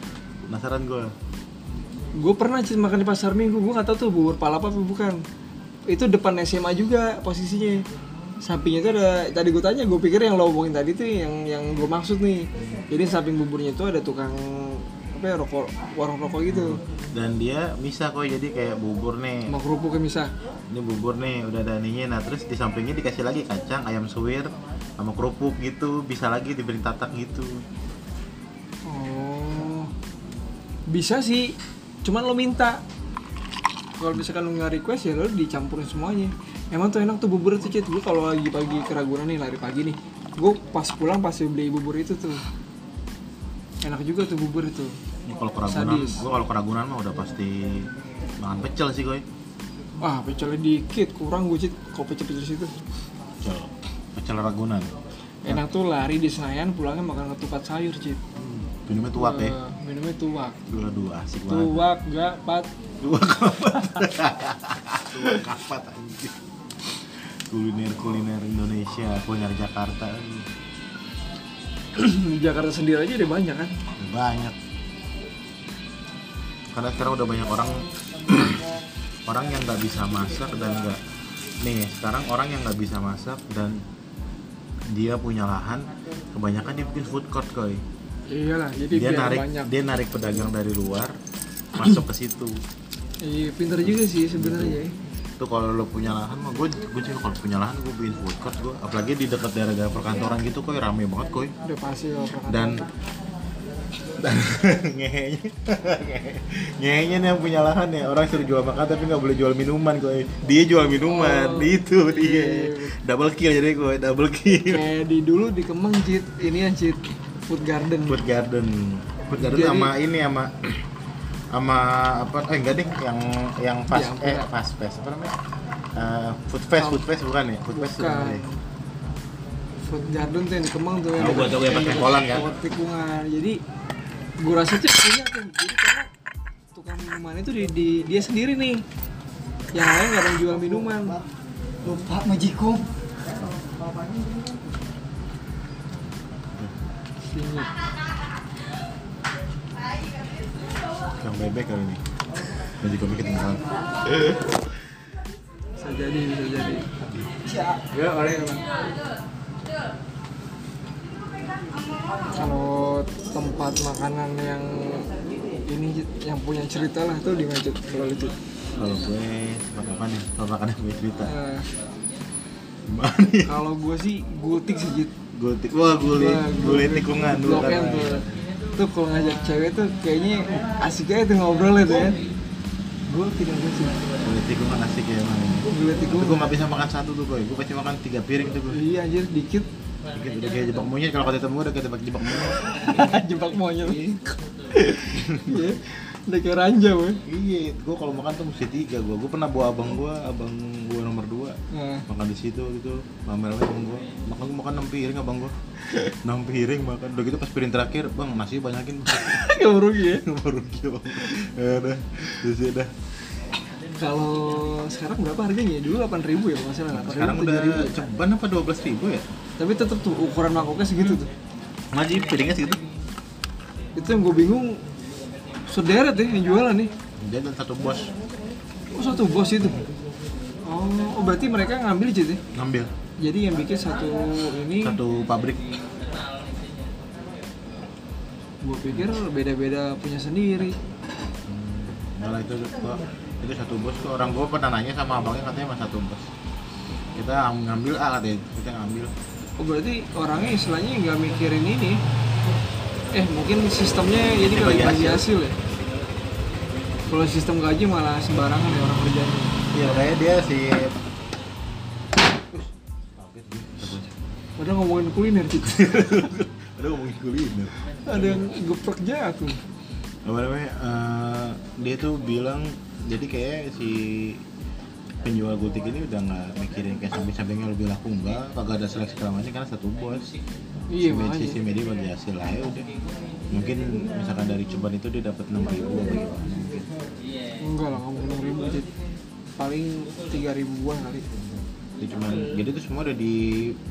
B: penasaran gue
A: gue pernah sih makan di pasar minggu gue nggak tahu tuh bubur palapa apa bukan itu depan SMA juga posisinya sampingnya itu ada tadi gue tanya gue pikir yang lo omongin tadi tuh yang yang gue maksud nih jadi samping buburnya itu ada tukang apa ya rokok warung rokok gitu
B: dan dia bisa kok jadi kayak bubur nih
A: sama kerupuk ya, misah
B: ini bubur nih udah ada ininya nah terus di sampingnya dikasih lagi kacang ayam suwir sama kerupuk gitu bisa lagi diberi tatak gitu
A: oh bisa sih cuman lo minta kalau misalkan lo nggak request ya lo dicampurin semuanya emang tuh enak tuh bubur tuh cit gue kalau lagi pagi ke Ragunan nih lari pagi nih gue pas pulang pasti beli bubur itu tuh enak juga tuh bubur itu
B: Ini kalau keragunan,
A: Sadis.
B: gua kalau keragunan mah udah pasti makan pecel sih gue.
A: ah pecelnya dikit kurang gue cit kalau pecel-pecel situ
B: Pecel, pecel ragunan.
A: enak tuh lari di Senayan pulangnya makan ketupat sayur cit
B: Minumnya tuak ya.
A: Eh, minumnya tuak
B: Dua dua asik banget.
A: tuak gak pat
B: Dua kapat. dua kapat anjing. Kuliner kuliner Indonesia, kuliner Jakarta aduh,
A: di Jakarta sendiri aja udah banyak kan
B: banyak. Karena sekarang udah banyak orang orang yang nggak bisa masak dan nggak nih sekarang orang yang nggak bisa masak dan dia punya lahan kebanyakan dia bikin food court koi
A: iyalah jadi
B: dia
A: biar
B: narik
A: banyak
B: dia narik pedagang dari luar masuk ke situ
A: iya pinter juga sih sebenarnya ya.
B: tuh kalau lo punya lahan mah gue gue sih kalau punya lahan gue bikin food court gue apalagi di dekat daerah-daerah perkantoran gitu koi rame banget koi
A: udah pasti lah perkantoran.
B: dan dan ngehenya ngehenya nih yang punya lahan ya orang suruh jual makan tapi nggak boleh jual minuman koi dia jual
A: Oh,
B: minuman itu
A: iya,
B: dia
A: iya.
B: double kill jadi koi double kill
A: kayak di dulu di Kemang cit ini yang cit food garden
B: food garden food garden
A: Jadi-
B: sama ini sama sama apa eh enggak deh yang yang fast
A: Yang
B: eh
A: punya.
B: fast fast apa namanya Eh, food fest food fest bukan ya food fest
A: bukan
B: bukan ya?
A: food garden tuh yang di Kemang tuh yang
B: Tahu gua, tahu yang pas pengkolan kan?
A: Tempat tikungan jadi gue rasa cit punya tuh jadi karena tukang minuman itu di, di- dia sendiri nih yang lain nggak ada yang jual minuman
C: lupa majikum
A: Sini.
B: Kang bebek kali ini. Nanti komik ketinggalan.
A: bisa jadi bisa jadi
C: siap
A: ya oleh teman kalau tempat makanan yang ini Cit, yang punya cerita lah tuh di mana Cit? kalau lucu
B: Kalau gue tempat apa nih? Tempat makan yang gue cerita.
A: Eh,
B: Mana nih?
A: kalau gue sih gutik sih Cit.
B: Gulik. Wah, gulik.
A: Wah,
B: Gulik tikungan dulu
A: Blok M
B: kan.
A: tuh. Tuh kalau ngajak cewek tuh kayaknya asik aja tuh ngobrol itu ya. Gue tidak gue sih.
B: Gulik tikungan asik ya emang ini.
A: Gue
B: Tapi gue
A: tikung.
B: gak bisa makan satu tuh gue. Gue pasti makan tiga piring tuh gue.
A: Iya anjir dikit
B: Dikit udah kayak jebak monyet. Kalau kata temen gue udah kayak jebak jebak monyet.
A: jebak monyet. Iya. Udah kayak ranjau ya.
B: Iya, gue kalau makan tuh mesti tiga gue. Gue pernah bawa abang gue, abang gue nomor dua.
A: Nah,
B: makan di situ gitu pamer aja abang gua makan gua makan 6 piring abang gua 6 piring makan udah gitu pas piring terakhir bang nasi banyakin
A: gak rugi ya.
B: baru gitu bang ya udah terus ya udah
A: Kalau sekarang berapa harganya? Dulu 8 ribu ya kalau nggak salah. 8.000,
B: sekarang udah
A: 7.000 ya.
B: ceban apa 12 ribu ya
A: Tapi tetap tuh ukuran mangkoknya segitu tuh.
B: masih piringnya segitu
A: Itu yang gue bingung sederet ya yang jualan nih.
B: dia dan satu bos
A: Oh satu bos itu. Oh, oh berarti mereka ngambil gitu ya?
B: ngambil
A: Jadi yang bikin satu ini
B: satu pabrik
A: gue pikir beda-beda punya sendiri.
B: malah Nah, itu gua itu satu bos tuh orang gua pernah nanya sama abangnya katanya mas satu bos kita ng- ngambil A katanya kita ngambil
A: Oh berarti orangnya istilahnya nggak mikirin ini. Eh mungkin sistemnya ini kali
B: Dibagi
A: bagi
B: hasil.
A: hasil ya. Kalau sistem gaji malah sembarangan ya orang kerjanya.
B: iya kayak dia si Ush, kaget gue, kata gua.
A: Padahal ngomongin kuliner gitu.
B: Ada ngomongin kuliner.
A: Ada yang geprek jatuh.
B: Apa namanya? eh, dia tuh bilang jadi kayak si penjual gotik ini udah nggak mikirin kayak samping-sampingnya lebih laku enggak kagak ada seleksi kelamanya karena satu bos
A: Iya
B: Si-
A: makanya.
B: sisi media bagi hasil aja udah mungkin misalkan dari cobaan itu dia dapat enam ribu apa gimana
A: Enggak lah ngomong enam ribu Cid. Paling tiga ribuan kali.
B: itu cuman jadi itu semua udah di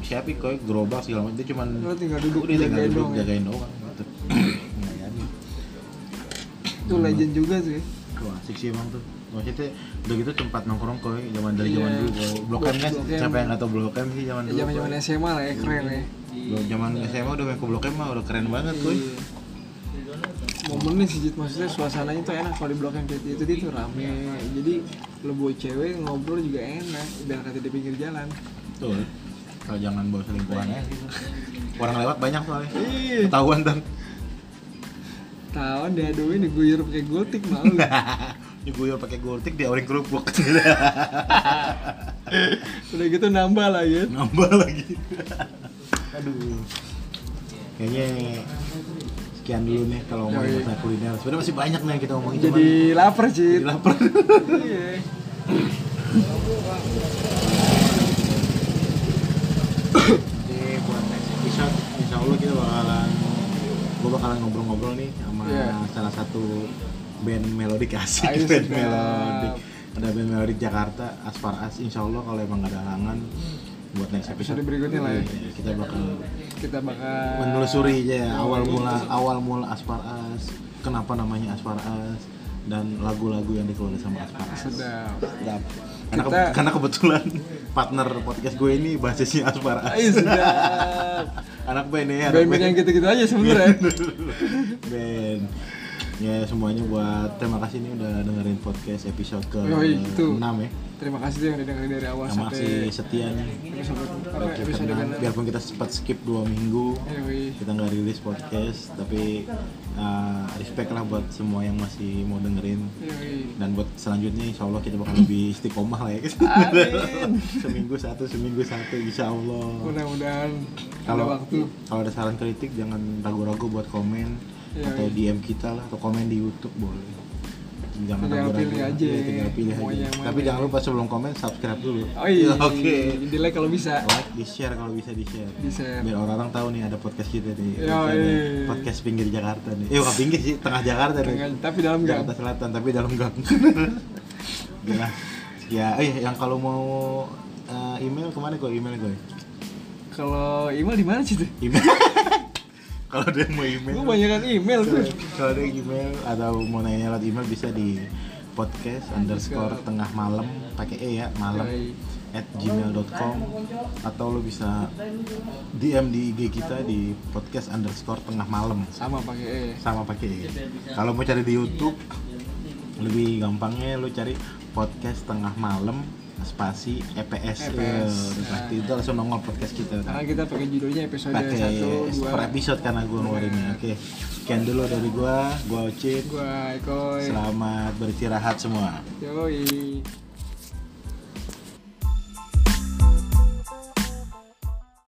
B: siapin kok gerobak segala macam itu cuman
A: Lo tinggal duduk,
B: udah tinggal
A: jagain
B: duduk
A: doang ya.
B: jagain doang ya, gitu Ngelayanin.
A: Itu legend juga sih.
B: Wah, asik sih emang tuh. Maksudnya udah gitu tempat nongkrong koi zaman dari
A: Iya.
B: zaman dulu koi. Blok M kan
A: Blok M.
B: siapa yang nggak tahu Blok M sih zaman
A: Ya,
B: dulu.
A: Zaman-zaman
B: koi.
A: SMA lah ya keren ya.
B: Blok- zaman SMA udah main ke Blok M mah udah keren banget koi.
A: Iya. momennya sih Jit. maksudnya suasananya tuh enak kalau di blok M Jit. itu dia tuh rame
B: Iya.
A: jadi lo buat cewek ngobrol juga enak udah kata di pinggir jalan
B: Tuh. Kalau jangan bawa selingkuhan ya gitu. Orang lewat banyak soalnya.
A: iya
B: Ketahuan dan
A: tahun diaduin diguyur pakai gotik malu
B: diguyur pakai goltik di orang kerupuk.
A: udah gitu nambah lah ya
B: Nambah lagi. Aduh. Kayaknya sekian dulu nih kalau ngomongin
A: Yoi.
B: masalah kuliner. Sebenarnya masih banyak nih yang kita ngomongin
A: jadi
B: cuman
A: lapar
B: jadi
A: Cit
B: lapar.
A: iya
B: Jadi buat next episode, insya Allah kita bakalan gue bakalan ngobrol-ngobrol nih sama
A: Iya.
B: salah satu band melodik asik,
A: Ayo,
B: band
A: sedap.
B: melodik. Ada band melodik Jakarta, Aspar As. Insya Allah kalau emang gak ada halangan buat next episode,
A: Episode berikutnya lah ya.
B: Iya, Kita bakal
A: kita bakal
B: ya,
A: Iya.
B: menelusuri aja awal mula awal mula Aspar As, kenapa namanya Aspar As, dan lagu-lagu yang dikeluarin sama Asparas.
A: sedap
B: Sedap. Karena,
A: Nah, Kita-
B: karena kebetulan partner podcast gue ini basisnya Asparas.
A: Ay, sedap
B: anak band ya, anak
A: band iya, yang ya. gitu-gitu aja
B: Iya,
A: sebenarnya
B: band. Ya semuanya buat terima kasih nih udah dengerin podcast episode ke
A: Yoi, gitu.
B: 6 ya.
A: terima kasih yang udah dengerin dari awal
B: Sama
A: sampai
B: si setianya.
A: episode apa
B: Baik,
A: episode Iya,
B: karena
A: ke-enam.
B: biarpun kita sempat skip 2 minggu
A: Yoi.
B: kita nggak rilis podcast tapi uh, respect lah buat semua yang masih mau dengerin
A: Yoi.
B: dan buat selanjutnya insya Allah kita bakal lebih istiqomah lah ya
A: Amin.
B: seminggu satu seminggu satu insya Allah
A: mudah-mudahan ada
B: kalau
A: waktu
B: kalau ada saran kritik jangan ragu-ragu buat komen
A: Iya,
B: atau
A: iya.
B: DM kita lah atau komen di YouTube boleh jangan
A: Tinggal
B: ragu-ragu
A: pilih aja.
B: Iya, tinggal pilih
A: Mau
B: aja
A: yang mana.
B: tapi jangan lupa sebelum komen subscribe dulu
A: oh iya
B: oke
A: di like kalau bisa
B: like di share kalau bisa di share
A: Di-share.
B: biar orang-orang tahu nih ada podcast kita
A: Yoi.
B: nih Ada podcast pinggir Jakarta nih eh bukan pinggir sih tengah Jakarta nih
A: Jangan- tapi dalam gang
B: Jakarta Selatan tapi dalam gang Udah lah. ya eh yang kalau mau eh, email kemana gue email gue
A: kalau email di mana sih tuh
B: email kalau ada yang mau email
A: gue banyakkan email tuh
B: kalau ada yang email atau mau nanya lewat email bisa di podcast underscore tengah malam pakai e ya malam
A: Yoi.
B: at gmail.com atau lo bisa DM di IG kita di podcast underscore tengah malam
A: sama pakai E
B: sama pakai E. Kalau mau cari di YouTube lebih gampangnya lo cari podcast tengah malam spasi
A: E
B: EPS, Eh,
A: EPS.
B: udah pasti itu langsung nongol podcast kita kan.
A: karena kita pakai judulnya episode
B: pakai
A: satu
B: per
A: dua
B: episode karena gue ngeluarinnya oke sekian dulu dari gue gue Ocit
A: gua Eko
B: selamat beristirahat semua
A: Yoi